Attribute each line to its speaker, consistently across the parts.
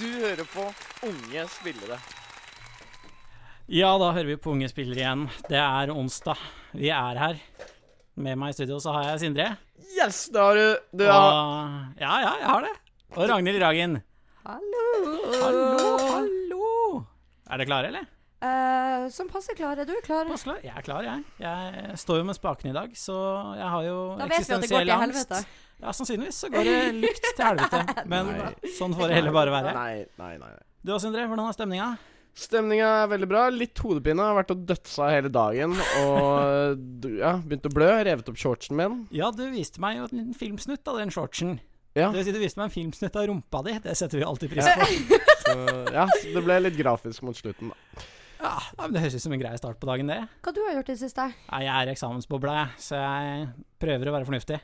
Speaker 1: høre på unge spillere.
Speaker 2: Ja, da hører vi på Unge spillere igjen. Det er onsdag. Vi er her. Med meg i studio så har jeg Sindre.
Speaker 1: Yes, det har du. Du
Speaker 2: Og
Speaker 1: har
Speaker 2: ja, ja, jeg har det. Og Ragnhild Ragen. Hallo,
Speaker 3: Øh,
Speaker 2: hallo. Er dere klare, eller?
Speaker 3: Eh, som passer klare. Du er klar.
Speaker 2: Pass klar. Jeg er klar, jeg. Jeg står jo med spakene i dag, så jeg har jo
Speaker 3: Da vet vi at det går
Speaker 2: eksistensiell
Speaker 3: til
Speaker 2: angst.
Speaker 3: helvete.
Speaker 2: Ja, sannsynligvis så går det lukt til helvete. Men
Speaker 1: Nei.
Speaker 2: sånn får det heller bare være.
Speaker 1: Nei, nei, nei. nei.
Speaker 2: Du og Sindre, hvordan er stemninga?
Speaker 1: Stemninga er veldig bra. Litt hodepine. Har vært og dødsa hele dagen. Og du- ja, begynt å blø. Revet opp shortsen min.
Speaker 2: Ja, du viste meg jo en liten filmsnutt av den shortsen.
Speaker 1: Ja,
Speaker 2: Det vil si, du viste meg en filmsnutt av rumpa di. Det setter vi alltid pris på.
Speaker 1: så, ja så det ble litt grafisk mot slutten. da.
Speaker 2: Ja, ja, men Det høres ut som en grei start på dagen, det.
Speaker 3: Hva du har gjort i det siste?
Speaker 2: Nei, jeg er i eksamensbobla, jeg, så jeg prøver å være fornuftig.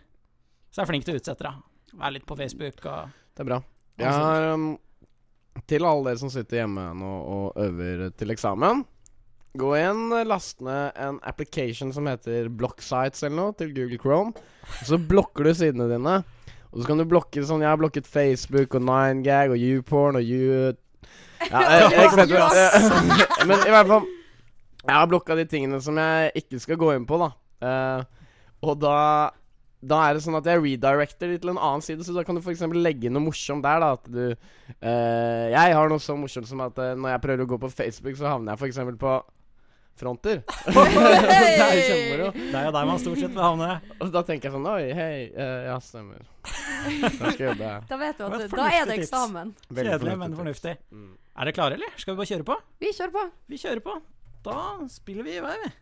Speaker 2: Så jeg er flink til å utsette, da. Være litt på Facebook og
Speaker 1: Det er bra. Jeg har um, Til alle dere som sitter hjemme nå og øver til eksamen Gå inn, last ned en application som heter Blocksites eller noe, til Google Chrome. Og så blokker du sidene dine. Og så kan du blokke sånn Jeg har blokket Facebook og 9gag og YouPorn og You... Ja, jeg, jeg, jeg, men i hvert fall Jeg har blokka de tingene som jeg ikke skal gå inn på, da. Eh, og da da er det sånn at jeg redirecter de til en annen side, så da kan du f.eks. legge inn noe morsomt der. da At du eh, Jeg har noe så morsomt som at eh, når jeg prøver å gå på Facebook, så havner jeg f.eks. på fronter. det er jo kjempemoro.
Speaker 2: Det er jo der man stort sett vil havne.
Speaker 1: Og da tenker jeg sånn Oi, hei. eh, ja, stemmer. Da skal jeg jobbe.
Speaker 3: Da vet du
Speaker 2: Det var
Speaker 3: at
Speaker 2: et
Speaker 3: du, da er det
Speaker 2: fornuftig tips.
Speaker 3: eksamen.
Speaker 1: Veldig
Speaker 2: Kjedelig, men
Speaker 1: fornuftig.
Speaker 2: fornuftig.
Speaker 1: Mm.
Speaker 2: Er dere klare, eller? Skal vi bare kjøre på?
Speaker 3: Vi kjører på.
Speaker 2: Vi kjører på. Da spiller vi i vei, vi.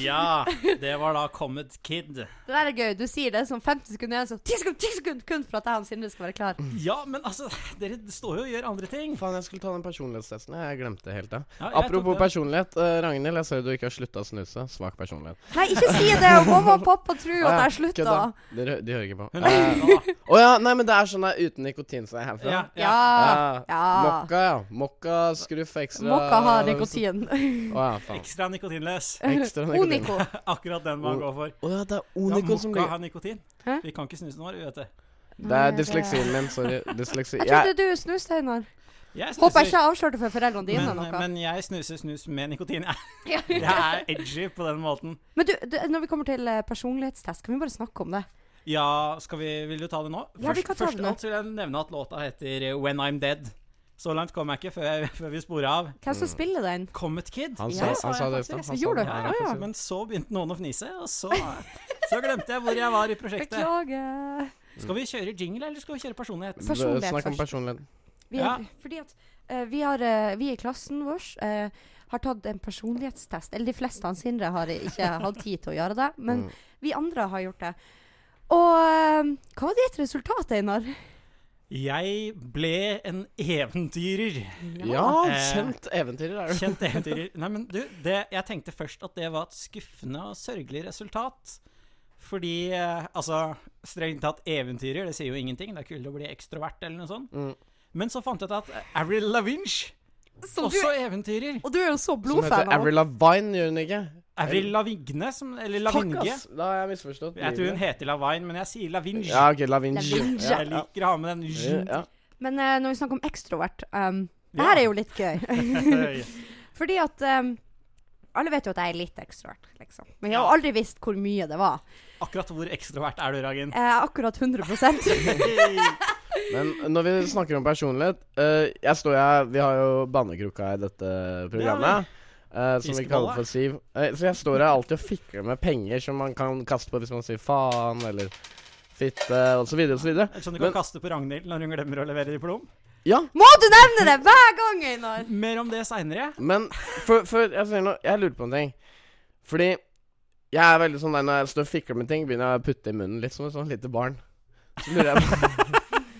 Speaker 2: Ja, det var da Comet Kid.
Speaker 3: Det der er gøy. Du sier det som 50 sekunder igjen, så 10 sekunder, 10 sekunder! Kun for at jeg og Sindre skal være klar.
Speaker 2: Ja, men altså, dere står jo og gjør andre ting.
Speaker 1: Faen, jeg skulle ta den personlighetstesten. Jeg glemte det helt. da
Speaker 2: Ja, jeg tok
Speaker 1: Apropos
Speaker 2: den.
Speaker 1: personlighet. eh, Ragnhild, jeg ser du ikke har slutta å snuse. Svak personlighet.
Speaker 3: Nei, ikke si det! og Mamma og pappa tror at
Speaker 1: Ah, ja,
Speaker 3: jeg slutta.
Speaker 1: kødda. Dere, de hører ikke på.
Speaker 2: Hun
Speaker 1: Eh,
Speaker 2: er nå, da.
Speaker 1: Å ja, nei, men det er sånn der uten nikotin som er herfra.
Speaker 2: Ja, ja.
Speaker 3: Ah, Ja.
Speaker 1: ja. Mokka, altså. ja. Mokka, skruff ekstra.
Speaker 3: Mokka har nikotin.
Speaker 1: Å ja, faen.
Speaker 2: Ekstra nikotinløs.
Speaker 1: Ekstra nikotin.
Speaker 3: Oniko.
Speaker 2: Akkurat den man går for.
Speaker 1: Å ja, det er
Speaker 2: Ja,
Speaker 1: oniko som
Speaker 2: mokka
Speaker 1: ligger
Speaker 2: har nikotin.
Speaker 3: Hæ?
Speaker 2: Vi kan ikke snuse noe, vi vet det.
Speaker 1: Det er dysleksien min, sorry. Dysleksi.
Speaker 3: Jeg
Speaker 1: Jeg,
Speaker 3: trodde du snuste, Einar.
Speaker 2: Jeg
Speaker 3: Håper jeg ikke avslørte for foreldrene dine
Speaker 2: men,
Speaker 3: noe.
Speaker 2: men jeg snuser snus med nikotin. Jeg,
Speaker 3: Ja.
Speaker 2: jeg er edgy på den måten.
Speaker 3: Men du, du, når vi kommer til eh, personlighetstest, kan vi bare snakke om det?
Speaker 2: Ja, skal vi, vil du ta det nå?
Speaker 3: Ja, vi kan ta
Speaker 2: først
Speaker 3: det nå.
Speaker 2: alt så vil jeg nevne at låta heter eh, When I'm Dead. Så langt kom jeg ikke før, jeg, før vi sporet av.
Speaker 3: Hvem som spiller den?
Speaker 2: Comet Kid.
Speaker 1: han
Speaker 3: Ja,
Speaker 1: sa,
Speaker 2: Det
Speaker 1: han sa
Speaker 2: jeg
Speaker 1: det i
Speaker 2: faktisk.
Speaker 1: stad. Han sa
Speaker 3: Gjorde
Speaker 1: det.
Speaker 3: du?
Speaker 2: Ja,
Speaker 3: Å, ja.
Speaker 2: Men så begynte noen å fnise, og så, så glemte jeg hvor jeg var i prosjektet.
Speaker 3: Beklager.
Speaker 2: Skal vi kjøre jingle, eller skal vi kjøre personlighet?
Speaker 3: Personlighet
Speaker 1: Snakk om
Speaker 3: først.
Speaker 1: personlighet.
Speaker 3: Vi, er,
Speaker 2: Ja.
Speaker 3: fordi at, eh, vi, har, eh, vi i klassen vår eh, har tatt en personlighetstest. Eller de fleste av Sindre har ikke hatt tid til å gjøre det, men
Speaker 1: Mm.
Speaker 3: vi andre har gjort det. Og eh, hva var ditt resultat, Einar?
Speaker 2: Jeg ble en eventyrer.
Speaker 1: Ja,
Speaker 2: Eh,
Speaker 1: kjent eventyrer er du.
Speaker 2: Kjent eventyrer. Nei, men du, det, jeg tenkte først at det var et skuffende og sørgelig resultat. Fordi, eh, altså, strengt tatt eventyrer, det sier jo ingenting. Det er kulere å bli ekstrovert eller noe sånt.
Speaker 1: Mm.
Speaker 2: Men så fant jeg ut at eh, Avril Lavinge,
Speaker 3: Som du,
Speaker 2: også eventyrer.
Speaker 3: og du er jo så
Speaker 1: Som heter
Speaker 3: blodfan av
Speaker 1: Avril Lavigne, gjør hun ikke?
Speaker 2: Avril Lavigne, som, eller
Speaker 1: Fuck,
Speaker 2: Lavinge.
Speaker 1: ass. Da har jeg misforstått.
Speaker 2: Jeg tror hun heter Lavigne, men jeg sier Lavinge.
Speaker 1: Ja, ok, Lavigne.
Speaker 3: Lavigne.
Speaker 1: Ja,
Speaker 2: Jeg liker å ha med den
Speaker 1: ja, ja.
Speaker 3: Men eh, når vi snakker om ekstrovert um, Det
Speaker 2: Ja.
Speaker 3: her er jo litt gøy.
Speaker 2: Oi.
Speaker 3: fordi at um, alle vet jo at jeg er litt ekstrovert, liksom. Men jeg har aldri visst hvor mye det var.
Speaker 2: Akkurat hvor ekstrovert er du, Ragen?
Speaker 3: Jeg er akkurat 100
Speaker 1: Men når vi snakker om personlighet eh, Jeg står jeg, Vi har jo bannekrukka i dette
Speaker 2: Ja,
Speaker 1: programmet. eh, som vi
Speaker 2: Fiskebolle.
Speaker 1: kaller for Siv. Eh, så jeg står her alltid og fikler med penger som man kan kaste på hvis man sier faen eller fitte osv. osv.
Speaker 2: Sånn
Speaker 1: Men-
Speaker 2: du kan kaste på Ragnhild når hun glemmer å levere diplom?
Speaker 1: Ja,
Speaker 3: Må du nevne det hver gang, Einar!
Speaker 2: Mer om det seinere.
Speaker 1: men før før jeg sier noe Jeg lurer på en ting. Fordi jeg er veldig sånn der når jeg står og fikler med ting, begynner jeg å putte i munnen litt som et sånn lite barn. Så lurer jeg på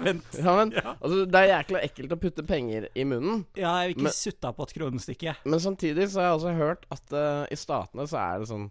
Speaker 2: Vent.
Speaker 1: ja, men,
Speaker 2: Ja.
Speaker 1: altså, Det er jækla ekkelt å putte penger i munnen.
Speaker 2: Ja, jeg vil ikke
Speaker 1: Men-
Speaker 2: sutta på et kronestykke.
Speaker 1: Men samtidig så har jeg også hørt at eh, i statene så er det sånn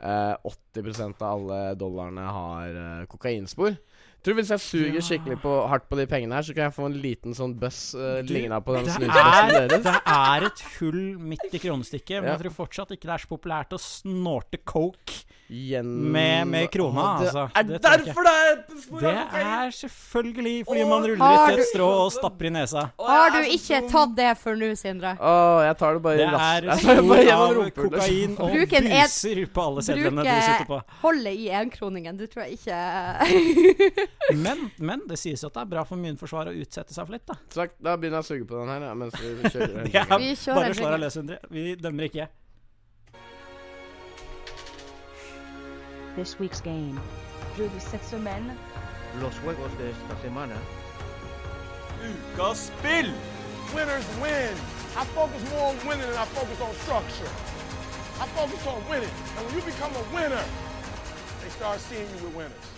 Speaker 1: eh, 80 av alle dollarene har eh, kokainspor. Tror Hvis jeg suger
Speaker 2: Ja.
Speaker 1: skikkelig på, hardt på de pengene her, så kan jeg få en liten sånn buss uh,
Speaker 2: Du,
Speaker 1: ligna på den
Speaker 2: det
Speaker 1: snusbussen
Speaker 2: er-
Speaker 1: deres.
Speaker 2: Det er et hull midt i kronestykket, men
Speaker 1: Ja.
Speaker 2: jeg tror fortsatt ikke det er så populært å snorte coke
Speaker 1: Gjennom
Speaker 2: Med- med krona,
Speaker 1: Å, det
Speaker 2: altså.
Speaker 1: Er
Speaker 2: Det tror jeg ikke.
Speaker 1: derfor det er et spor
Speaker 2: Det
Speaker 1: av kokain!
Speaker 2: er selvfølgelig fordi
Speaker 1: Å,
Speaker 2: man
Speaker 3: har
Speaker 2: ruller ut
Speaker 3: du-
Speaker 2: et strå og stapper i nesa.
Speaker 1: Å, jeg
Speaker 3: Har
Speaker 1: er
Speaker 3: du
Speaker 1: så
Speaker 3: ikke
Speaker 1: dum.
Speaker 3: tatt det før nå, Sindre?
Speaker 1: Å, jeg tar det bare
Speaker 2: Det
Speaker 1: i
Speaker 2: er
Speaker 1: rass- Jeg tar det bare
Speaker 2: spor
Speaker 1: gjennom liksom.
Speaker 2: av
Speaker 1: rumpehullet.
Speaker 2: kokain og
Speaker 3: Bruk en ed-
Speaker 2: buser på alle sedlene du sitter på.
Speaker 3: Bruke holdet i enkroningen. Du tror jeg ikke
Speaker 2: Men, men det sies jo at det er bra for immunforsvaret å utsette seg for litt, da.
Speaker 1: Sagt, da begynner jeg å suge på den her, ja, mens vi kjører.
Speaker 2: Det er
Speaker 3: Vi kjører
Speaker 2: bare slår
Speaker 3: jingle.
Speaker 2: av løs, Endre. Vi dømmer ikke.
Speaker 4: This week's game.
Speaker 5: Jeu de cette semaine,
Speaker 6: los juegos de esta semana.
Speaker 7: winners win. I focus more on winning than I focus on structure. I focus on winning. And when you become a winner, they start seeing you with winners.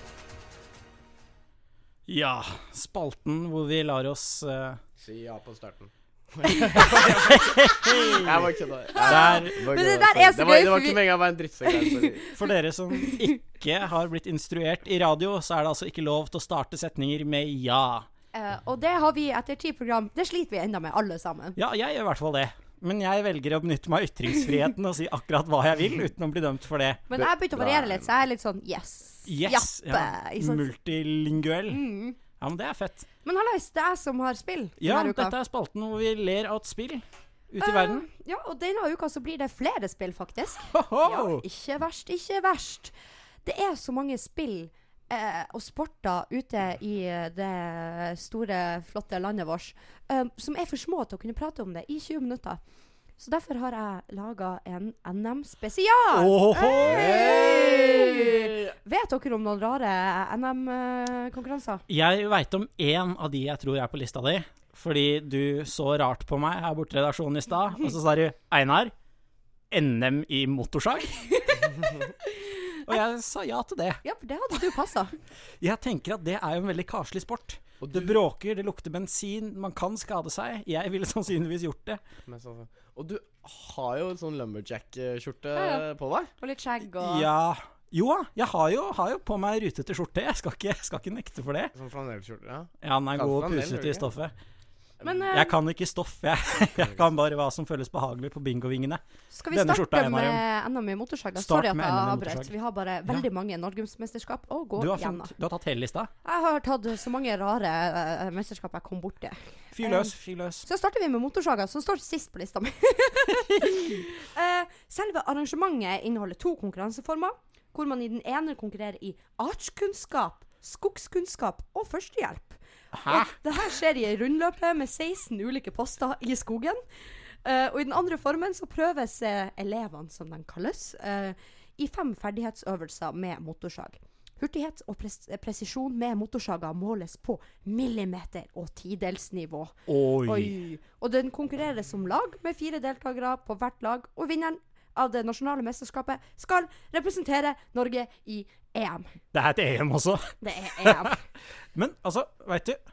Speaker 2: Ja, spalten hvor vi lar oss eh,
Speaker 1: Si ja på starten. jeg bare kødder.
Speaker 2: Der,
Speaker 1: Bare
Speaker 3: Men det
Speaker 1: kødder.
Speaker 3: der er så
Speaker 1: Det var- Det
Speaker 3: gøy, for
Speaker 1: var ikke
Speaker 3: vi-
Speaker 1: meningen å være en drittsekk. her, sorry.
Speaker 2: for dere som ikke har blitt instruert i radio, så er det altså ikke lov til å starte setninger med ja.
Speaker 3: Eh, Og det har vi etter ti program. Det sliter vi enda med, alle sammen.
Speaker 2: Ja, jeg gjør i hvert fall det. Men jeg velger å benytte meg av ytringsfriheten og si akkurat hva jeg vil, uten å bli dømt for det.
Speaker 3: Men jeg har begynt å variere litt, så jeg er litt sånn yes.
Speaker 2: Yes, ja.
Speaker 3: Jappe, ikke sant?
Speaker 2: Multilinguell. Ja, men det er fett.
Speaker 3: Men hallais, det er jeg som har spill
Speaker 2: Ja,
Speaker 3: denne uka.
Speaker 2: dette er spalten hvor vi ler av et spill ute i verden.
Speaker 3: Eh, ja, og denne uka så blir det flere spill, faktisk. Ja,
Speaker 2: Ho-ho!
Speaker 3: ikke verst, ikke verst. Det er så mange spill eh, og sporter ute i eh, det store, flotte landet vårt eh, som er for små til å kunne prate om det i 20 minutter. Så derfor har jeg laga en NM-spesial.
Speaker 2: Ohoho!
Speaker 3: Hey! Vet dere om noen rare eh, NM-konkurranser?
Speaker 2: Jeg veit om én av de jeg tror er på lista di. Fordi du så rart på meg her borte i redaksjonen i stad, og så sa du 'Einar, NM i motorsag'? og jeg sa ja til det.
Speaker 3: Ja, for det hadde du passa.
Speaker 2: Jeg tenker at det er jo en veldig karslig sport. Det bråker, det lukter bensin, man kan skade seg. Jeg ville sannsynligvis gjort det.
Speaker 1: Men så- Og du har jo en sånn lumberjack-skjorte
Speaker 3: Ja,
Speaker 1: på deg.
Speaker 3: Og litt skjegg og
Speaker 2: Ja. Jo da, jeg har jo, har jo på meg rutete skjorte. Jeg skal ikke, skal ikke nekte for det.
Speaker 1: Sånn flanellskjorte. Ja.
Speaker 2: Ja, den er
Speaker 1: Kan
Speaker 2: god
Speaker 1: for
Speaker 2: og
Speaker 1: en del, gjør
Speaker 2: pusete
Speaker 1: du
Speaker 2: i
Speaker 1: ikke?
Speaker 2: stoffet.
Speaker 3: Men eh,
Speaker 2: Jeg kan ikke stoff, jeg. Jeg kan bare hva som føles behagelig på bingovingene.
Speaker 3: skal vi
Speaker 2: denne skjorta er
Speaker 3: starte
Speaker 2: en av
Speaker 3: med NM i motorsag? da?
Speaker 2: Start
Speaker 3: Sorry at
Speaker 2: med
Speaker 3: jeg
Speaker 2: NM i
Speaker 3: avbrøt.
Speaker 2: motorsag.
Speaker 3: Vi har bare veldig mange norgesmesterskap å gå
Speaker 2: Du har,
Speaker 3: gjennom.
Speaker 2: funnet, du har tatt hele lista?
Speaker 3: Jeg har tatt så mange rare eh, mesterskap jeg kom borti.
Speaker 2: Fyr løs, fyr løs.
Speaker 3: Så starter vi med motorsaga, som står sist på lista mi. Eh, Selve arrangementet inneholder to konkurranseformer, hvor man i den ene konkurrerer i artskunnskap, skogskunnskap og førstehjelp.
Speaker 2: Hæ?
Speaker 3: Og det her skjer i ei rundløpe med 16 ulike poster i skogen. Eh, og i den andre formen så prøves eh, elevene, som de kalles, eh, i fem ferdighetsøvelser med motorsag. Hurtighet og pres presisjon med motorsaga måles på millimeter- og tidelsnivå.
Speaker 2: Oi.
Speaker 3: Oi. Og den konkurrerer som lag med fire deltakere på hvert lag. Og vinneren av det nasjonale mesterskapet skal representere Norge i EM.
Speaker 2: Det er et EM også.
Speaker 3: Det er EM.
Speaker 2: Men altså, veit du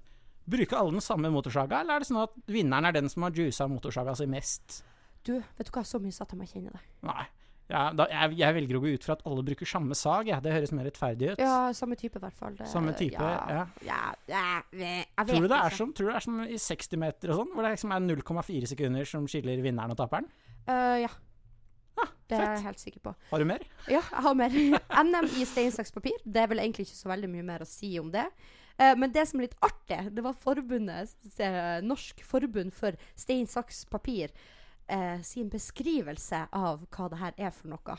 Speaker 2: Bruker alle den samme motorsaga, eller er det sånn at vinneren er den som har juica motorsaga si mest?
Speaker 3: Du, vet du hva, så mye satt jeg meg ikke inn i det.
Speaker 2: Nei. Ja, da, jeg, jeg velger å gå ut fra at alle bruker samme sag. Ja. Det høres mer rettferdig ut.
Speaker 3: Ja, samme type i hvert fall. Det,
Speaker 2: Samme type, ja.
Speaker 3: ja, ja, jeg vet
Speaker 2: Tror du, det er
Speaker 3: ikke.
Speaker 2: som, tror du det er som i 60 meter og sånn, hvor det liksom er 0,4 sekunder som skiller vinneren og taperen?
Speaker 3: Eh, ja.
Speaker 2: Ah,
Speaker 3: Det er
Speaker 2: fett.
Speaker 3: jeg helt sikker på.
Speaker 2: Har du mer?
Speaker 3: Ja, jeg har mer. NM i stein, saks, papir. Det er vel egentlig ikke så veldig mye mer å si om det. Eh, men det som er litt artig, det var forbundet, eh, Norsk forbund for stein, saks, papir eh, sin beskrivelse av hva det her er for noe.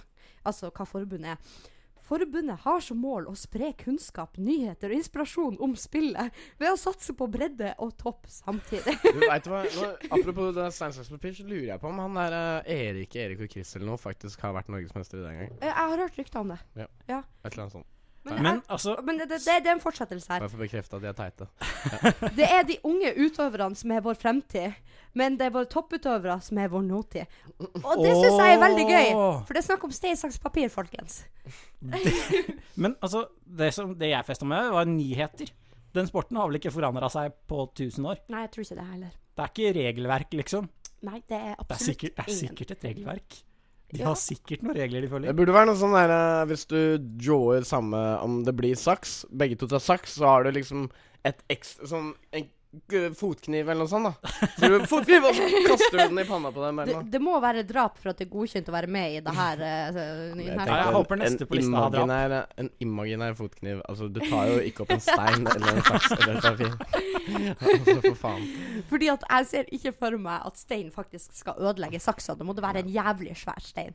Speaker 3: Altså hva forbundet er. Forbundet har som mål å spre kunnskap, nyheter og inspirasjon om spillet ved å satse på bredde og topp samtidig.
Speaker 1: Du vet du hva, nå, Apropos det stein, saks, papir, så lurer jeg på om han der eh, Erik Erik og Chris eller noe faktisk har vært norgesmester i den gang.
Speaker 3: Eh, jeg har hørt rykter om det.
Speaker 1: Ja.
Speaker 3: Ja.
Speaker 1: Et eller annet sånt.
Speaker 3: Men,
Speaker 2: Men
Speaker 3: jeg,
Speaker 2: altså,
Speaker 3: men det, det, det er en fortsettelse her.
Speaker 1: Bare for å bekrefte at de er teite.
Speaker 3: Det er de unge utøverne som er vår fremtid, men det er våre topputøvere som er vår nåtid. Og det syns jeg er veldig gøy,
Speaker 2: Åh.
Speaker 3: for det er snakk om stein, saks, papir, folkens.
Speaker 2: Men altså, det, som, det jeg festa med, var nyheter. Den sporten har vel ikke forandra seg på 1000 år.
Speaker 3: Nei, jeg tror ikke det heller.
Speaker 2: Det er ikke regelverk, liksom.
Speaker 3: Nei, det er
Speaker 2: Det er
Speaker 3: absolutt
Speaker 2: sikkert, det er
Speaker 3: ingen.
Speaker 2: sikkert et regelverk. De
Speaker 3: Ja.
Speaker 2: har sikkert noen regler de
Speaker 1: Det
Speaker 2: følger.
Speaker 1: burde være noe sånn der eh, Hvis du drawer samme om det blir saks, begge to tar saks, så har du liksom et ekstra sånn en g- fotkniv eller noe sånt, da. Så du fotkniv, og så kaster du den i panna på dem
Speaker 3: Det,
Speaker 1: eller noe.
Speaker 3: det må være drap for at det er godkjent å være med i det her. eh, så- i den her.
Speaker 2: tenker- Ja, jeg håper
Speaker 1: en-
Speaker 2: neste
Speaker 1: en
Speaker 2: på lista har drap.
Speaker 1: imaginær- En imaginær fotkniv. Altså, du tar jo ikke opp en stein eller en saks eller en papir. Altså, for faen.
Speaker 3: Fordi at jeg ser ikke for meg at stein faktisk skal ødelegge saksa. Det må det være en jævlig svær stein.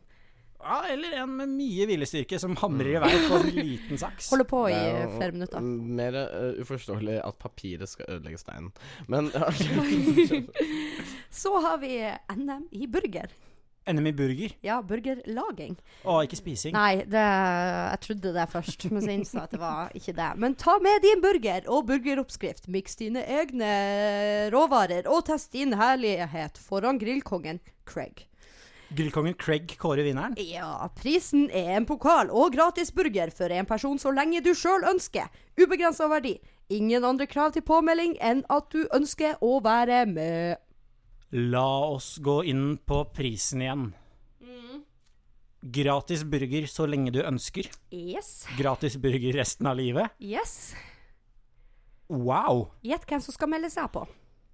Speaker 2: Ja, eller en med mye viljestyrke som hamrer i vei på en liten saks.
Speaker 3: Holder på i
Speaker 1: Det er
Speaker 3: eh,
Speaker 1: jo
Speaker 3: flere minutter.
Speaker 1: Mer eh, uforståelig at papiret skal ødelegge steinen. Men
Speaker 3: Så har vi NM i burger.
Speaker 2: NM i burger.
Speaker 3: Ja, burgerlaging.
Speaker 2: Å, ikke spising.
Speaker 3: Nei, det, jeg trodde det først, men så innså jeg at det var ikke det. Men ta med din burger og burgeroppskrift. Miks dine egne råvarer og test din herlighet foran grillkongen Craig.
Speaker 2: Grillkongen Craig kårer vinneren.
Speaker 3: Ja, prisen er en pokal og gratis burger for en person så lenge du sjøl ønsker. Ubegrensa verdi. Ingen andre krav til påmelding enn at du ønsker å være med.
Speaker 2: La oss gå inn på prisen igjen.
Speaker 3: Mm.
Speaker 2: Gratis burger så lenge du ønsker.
Speaker 3: Yes.
Speaker 2: Gratis burger resten av livet.
Speaker 3: Yes.
Speaker 2: Wow!
Speaker 3: Gjett hvem som skal melde seg på.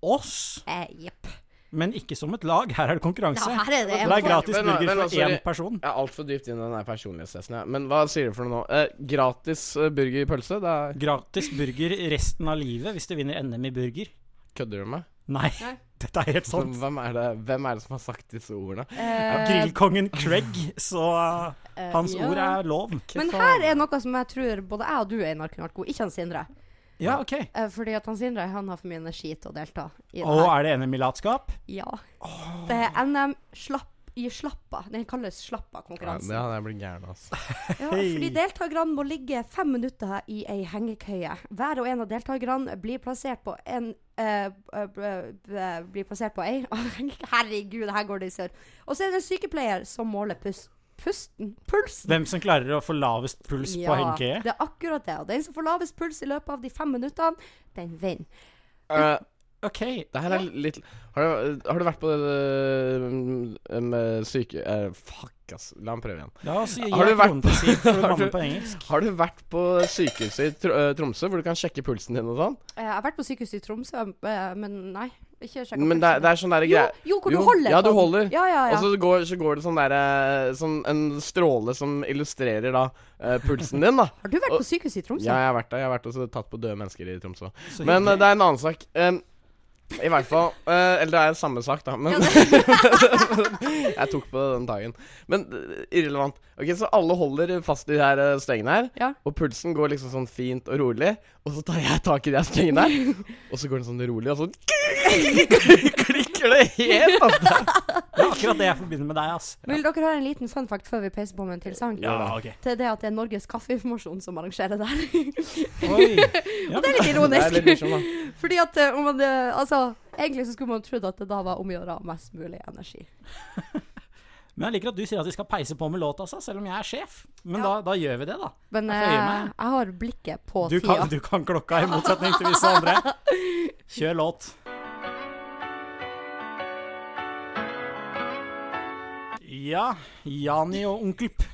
Speaker 2: Oss,
Speaker 3: Eh, jepp.
Speaker 2: men ikke som et lag. Her er det konkurranse.
Speaker 3: Ja, her er det en
Speaker 2: det er
Speaker 3: for-
Speaker 2: gratis
Speaker 1: Men, men,
Speaker 2: burger for
Speaker 1: altså,
Speaker 2: én
Speaker 1: det-
Speaker 2: person.
Speaker 1: Jeg er altfor dypt inn i den her personlighetstesten. Ja. Men hva sier du for noe nå? Eh, gratis eh, burgerpølse? Da
Speaker 2: Gratis burger resten av livet hvis du vinner NM i burger.
Speaker 1: kødder du med meg?
Speaker 2: Nei, dette er helt sant.
Speaker 1: Hvem er, det, hvem er det som har sagt disse ordene?
Speaker 2: Grillkongen Craig, så uh, hans
Speaker 3: Eh, ja.
Speaker 2: ord er lov.
Speaker 3: Men her er noe som jeg tror både jeg og du, Einar, kunne vært gode. Ikke han Sindre.
Speaker 2: Ja, ok.
Speaker 3: Eh, fordi at han Sindre han har for mye energi til å delta i det
Speaker 2: Og
Speaker 3: her.
Speaker 2: er det NM i latskap?
Speaker 3: Ja. Det er NM slapp i slappa. Den kalles
Speaker 1: Ja,
Speaker 3: slappa-konkurransen.
Speaker 1: det hadde jeg blitt gæren av. Altså.
Speaker 3: Ja, fordi deltakerne må ligge fem minutter i ei hengekøye. Hver og en av deltakerne blir plassert på en eh, eh, eh, Blir plassert på ei Herregud, her går det i sør. Og så er det en sykepleier som måler pus pusten Pulsen!
Speaker 2: Hvem som klarer å få lavest puls på hengekøye?
Speaker 3: det er akkurat det. Og den som får lavest puls i løpet av de fem minuttene, den vinner.
Speaker 1: Eh,
Speaker 2: Ok,
Speaker 1: det her er litt Har du, har du vært på det eh, med syke... eh, fuck, ass. La meg prøve igjen.
Speaker 2: la oss gi
Speaker 1: Har du
Speaker 2: deg
Speaker 1: vært-
Speaker 2: kronen til Siv for å
Speaker 1: Har
Speaker 2: banne
Speaker 1: du-
Speaker 2: på engelsk.
Speaker 1: Har du vært på sykehuset i Tr eh, Tromsø, hvor du kan sjekke pulsen din og sånn?
Speaker 3: Eh, Jeg har vært på sykehuset i Tromsø, eh, men nei. Ikke sjekka
Speaker 1: Men det, er- det er sånn derre
Speaker 3: jo,
Speaker 1: greie
Speaker 3: jo, hvor
Speaker 1: Jo,
Speaker 3: du holder
Speaker 1: ja,
Speaker 3: på
Speaker 1: du
Speaker 3: den.
Speaker 1: holder.
Speaker 3: Ja, ja, ja.
Speaker 1: Og så går, så går det sånn derre Sånn en stråle som illustrerer da eh, pulsen din, da.
Speaker 3: har du vært
Speaker 1: og-
Speaker 3: på sykehuset i Tromsø?
Speaker 1: Ja, jeg har vært der. Jeg har vært også tatt på døde mennesker i Tromsø.
Speaker 2: Så
Speaker 1: Men eh,
Speaker 2: hyggelig.
Speaker 1: det er en annen sak. Em, I hvert fall eh, Eller det er samme sak, da. Men jeg tok på den dagen. Men eh, irrelevant. Ok, Så alle holder fast i de her eh, stengene her.
Speaker 3: Ja.
Speaker 1: Og pulsen går liksom sånn fint og rolig. Og så tar jeg tak i de her stengene her. Og så går den sånn rolig, og så klikker det helt. Altså.
Speaker 2: Det er akkurat det jeg forbinder med deg, ass.
Speaker 3: Vil dere høre en liten fun fact før vi peiser på med en til sang?
Speaker 2: ok.
Speaker 3: Til det at det er Norges Kaffeinformasjon som arrangerer det her.
Speaker 2: Oi.
Speaker 3: det er litt
Speaker 1: Det er litt
Speaker 3: ironisk.
Speaker 1: morsomt, da.
Speaker 3: Fordi at eh, om man, eh, altså, Egentlig så skulle man trodd at det da var om å gjøre å ha mest mulig energi.
Speaker 2: Men jeg liker at du sier at vi skal peise på med låta, ass, selv om jeg er sjef. Men da, da gjør vi det, da.
Speaker 3: Men
Speaker 2: Jeg
Speaker 3: eh,
Speaker 2: får gjøre
Speaker 3: jeg,
Speaker 2: meg.
Speaker 3: har blikket på
Speaker 2: Du
Speaker 3: tida.
Speaker 2: kan, du kan klokka, i motsetning til visse andre. Kjør låt. Ja, Jani og Onkel P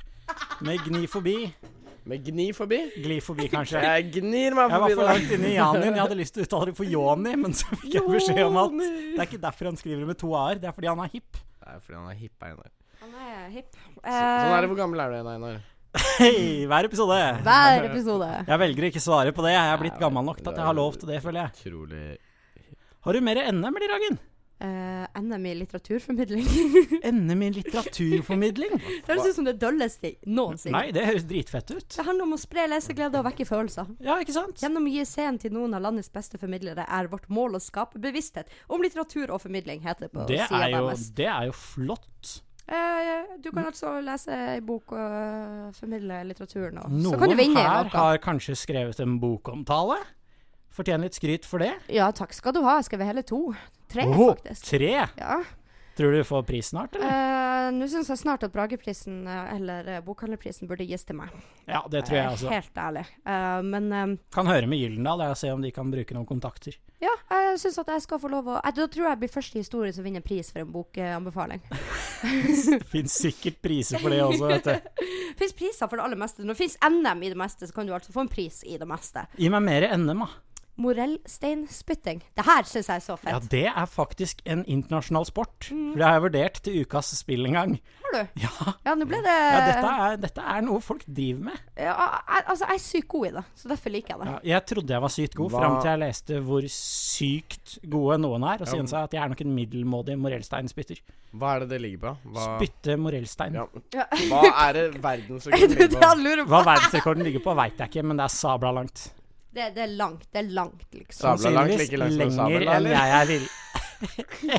Speaker 2: med Gni forbi.
Speaker 1: Med gni forbi.
Speaker 2: Gli forbi, kanskje.
Speaker 1: Jeg gnir meg
Speaker 2: Jeg var
Speaker 1: forbi
Speaker 2: for
Speaker 1: der.
Speaker 2: langt inne i Janin. Jeg hadde lyst til å uttale det for Joni, men så fikk jeg beskjed om at det er ikke derfor han skriver det med to a-er, det er fordi han er hipp.
Speaker 1: Det er fordi han er hipp, Einar.
Speaker 3: Han er hipp.
Speaker 1: Så, sånn er det. Hvor gammel er du igjen, Einar?
Speaker 2: Hei, hver episode.
Speaker 3: Eh, hver episode.
Speaker 2: Jeg velger å ikke svare på det. Jeg er blitt
Speaker 1: Nei,
Speaker 2: gammel nok til
Speaker 1: det
Speaker 2: at
Speaker 1: er
Speaker 2: jeg har lov til det, føler jeg.
Speaker 1: Utrolig
Speaker 2: Har du mer NM, eller, Ragen?
Speaker 3: Eh, NM i litteraturformidling.
Speaker 2: NM i litteraturformidling?
Speaker 3: det høres ut som det dølleste noensinne.
Speaker 2: Nei, det høres dritfett ut.
Speaker 3: Det handler om å spre leseglede og vekke følelser.
Speaker 2: Ja, ikke sant?
Speaker 3: Gjennom å gi scenen til noen av landets beste formidlere er vårt mål å skape bevissthet om litteratur og formidling, heter det på
Speaker 2: Det
Speaker 3: sida
Speaker 2: er jo,
Speaker 3: deres.
Speaker 2: det er jo flott.
Speaker 3: Eh, du kan altså lese ei bok og eh, formidle litteraturen, og så kan du
Speaker 2: Noen
Speaker 3: vinne i
Speaker 2: her
Speaker 3: noe.
Speaker 2: har kanskje skrevet en bokomtale. Fortjener litt skryt for det.
Speaker 3: Ja, takk skal du ha. Jeg skrev hele to. Tre,
Speaker 2: Åh,
Speaker 3: faktisk.
Speaker 2: tre!
Speaker 3: Ja.
Speaker 2: Tror du du får pris snart, eller?
Speaker 3: Eh, Nå syns jeg snart at Brageprisen eh, eller eh, Bokhandlerprisen burde gis til meg.
Speaker 2: Ja, det tror jeg altså.
Speaker 3: Helt ærlig. Eh, men eh,
Speaker 2: Kan høre med Gyldendal jeg, og se om de kan bruke noen kontakter.
Speaker 3: ja, jeg syns at jeg skal få lov å eh, Da tror jeg jeg blir første i historien som vinner pris for en bokanbefaling.
Speaker 2: Det fins sikkert priser for det også, vet du.
Speaker 3: det fins priser for det aller meste. Når det fins NM i det meste, så kan du altså få en pris i det meste.
Speaker 2: Gi meg mer NM, da.
Speaker 3: morellsteinspytting. Det her syns jeg er så
Speaker 2: Ja,
Speaker 3: fett.
Speaker 2: det er faktisk en internasjonal sport.
Speaker 3: Mm.
Speaker 2: For det har jeg vurdert til ukas spill en gang.
Speaker 3: Har du?
Speaker 2: Ja,
Speaker 3: Ja, nå ble det
Speaker 2: ja dette, er, dette er noe folk driver med.
Speaker 3: Ja, jeg, altså, jeg er sykt god i det, så derfor liker jeg det.
Speaker 2: Ja, jeg trodde jeg var sykt god,
Speaker 1: Hva-
Speaker 2: fram til jeg leste hvor sykt gode noen er, og så innså jeg at jeg er nok en middelmådig morellsteinspytter.
Speaker 1: Hva er det det ligger på? Hva,
Speaker 2: Spytte morellstein.
Speaker 1: ja.
Speaker 3: Ja.
Speaker 1: Hva er det verdensrekorden
Speaker 3: Du, det
Speaker 1: ligger på?
Speaker 3: han lurer
Speaker 2: Hva
Speaker 3: på.
Speaker 2: verdensrekorden ligger på, veit jeg ikke, men det er sabla langt.
Speaker 3: Det, det er langt, det er langt, liksom.
Speaker 1: Sa- Sabla langt,
Speaker 2: Sannsynligvis
Speaker 1: like langt som
Speaker 2: lenger
Speaker 1: sabla,
Speaker 2: enn
Speaker 1: eller?
Speaker 2: jeg er vill.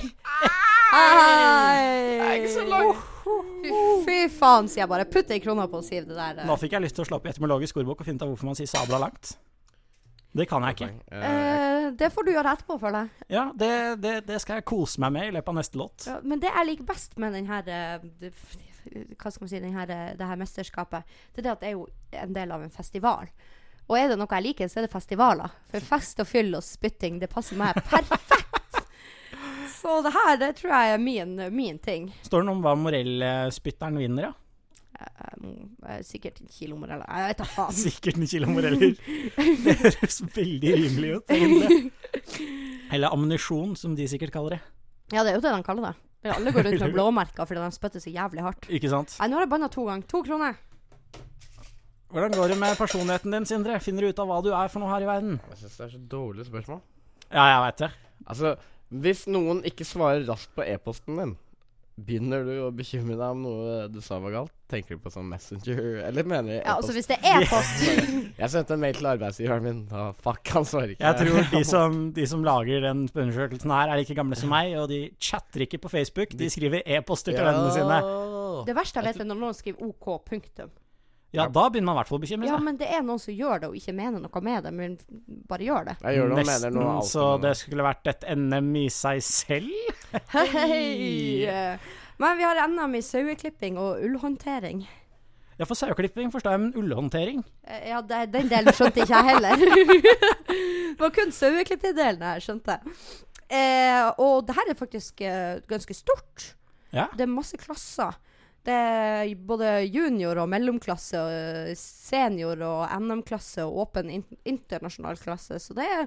Speaker 3: Fy, Uhuh. fy faen, sier jeg bare. Putt ei krone på og siv det der. eh.
Speaker 2: Nå fikk jeg lyst til å slå opp i etymologisk ordbok og finne ut av hvorfor man sier sabla langt. Det kan jeg ikke.
Speaker 1: Eh,
Speaker 3: Eh, det får du gjøre etterpå, føler jeg.
Speaker 2: Ja, det, det, det skal jeg kose meg med i løpet av neste låt.
Speaker 3: Ja, men det jeg liker best med den her eh, det- Hva skal man si, den her, eh, det her mesterskapet, det er det at det er jo en del av en festival. Og er det noe jeg liker, så er det festivaler. For fest og fyll og spytting, det passer meg perfekt. Så det her, det tror jeg er min, min ting.
Speaker 2: Står det noe om hva morellspytteren vinner, ja?
Speaker 3: Um, eh, sikkert en kilo moreller. Jeg vet da faen.
Speaker 2: Sikkert en kilo moreller. Det høres veldig rimelig ut. egentlig. Eller ammunisjon, som de sikkert kaller det.
Speaker 3: Ja, det er jo det de kaller det. Men alle går rundt med blåmerker fordi de spytter så jævlig hardt.
Speaker 2: Ikke sant?
Speaker 3: Nei, nå har jeg banna to ganger. To kroner.
Speaker 2: Hvordan går det med personligheten din, Sindre? Finner du ut av hva du er for noe her i verden?
Speaker 1: jeg syns det er så dårlig spørsmål.
Speaker 2: Ja, jeg veit det.
Speaker 1: Altså, hvis noen ikke svarer raskt på e-posten din, begynner du å bekymre deg om noe du sa var galt? Tenker du på sånn Messenger, eller mener du
Speaker 3: Ja, altså
Speaker 1: e-post?
Speaker 3: hvis det er post
Speaker 1: Jeg sendte en mail til arbeidsgiveren min, og fuck, han svarer ikke.
Speaker 2: Jeg tror de som, de som lager den undersøkelsen her, er like gamle som meg, og de chatter ikke på Facebook. De skriver e-poster til vennene sine.
Speaker 3: Det verste jeg vet, er når noen skriver OK, punktum.
Speaker 2: Ja, da begynner man i hvert fall å bekymre
Speaker 3: Ja,
Speaker 2: seg.
Speaker 3: men det er noen som gjør det og ikke mener noe med det, men bare gjør det.
Speaker 1: Jeg gjør det og mener
Speaker 2: Nesten
Speaker 1: noe alt
Speaker 2: så
Speaker 1: om
Speaker 2: det skulle vært et NM i seg selv.
Speaker 3: Hei! Men vi har NM i saueklipping og ullhåndtering.
Speaker 2: Ja, for saueklipping forstår jeg, men ullhåndtering
Speaker 3: Eh, Ja, det, den delen skjønte ikke jeg heller. det var kun saueklipping-delen jeg skjønte. Eh, og det her er faktisk eh, ganske stort.
Speaker 2: Ja.
Speaker 3: Det er masse klasser. Det er både junior og mellomklasse, og senior og NM-klasse og åpen in- internasjonal klasse. Så det er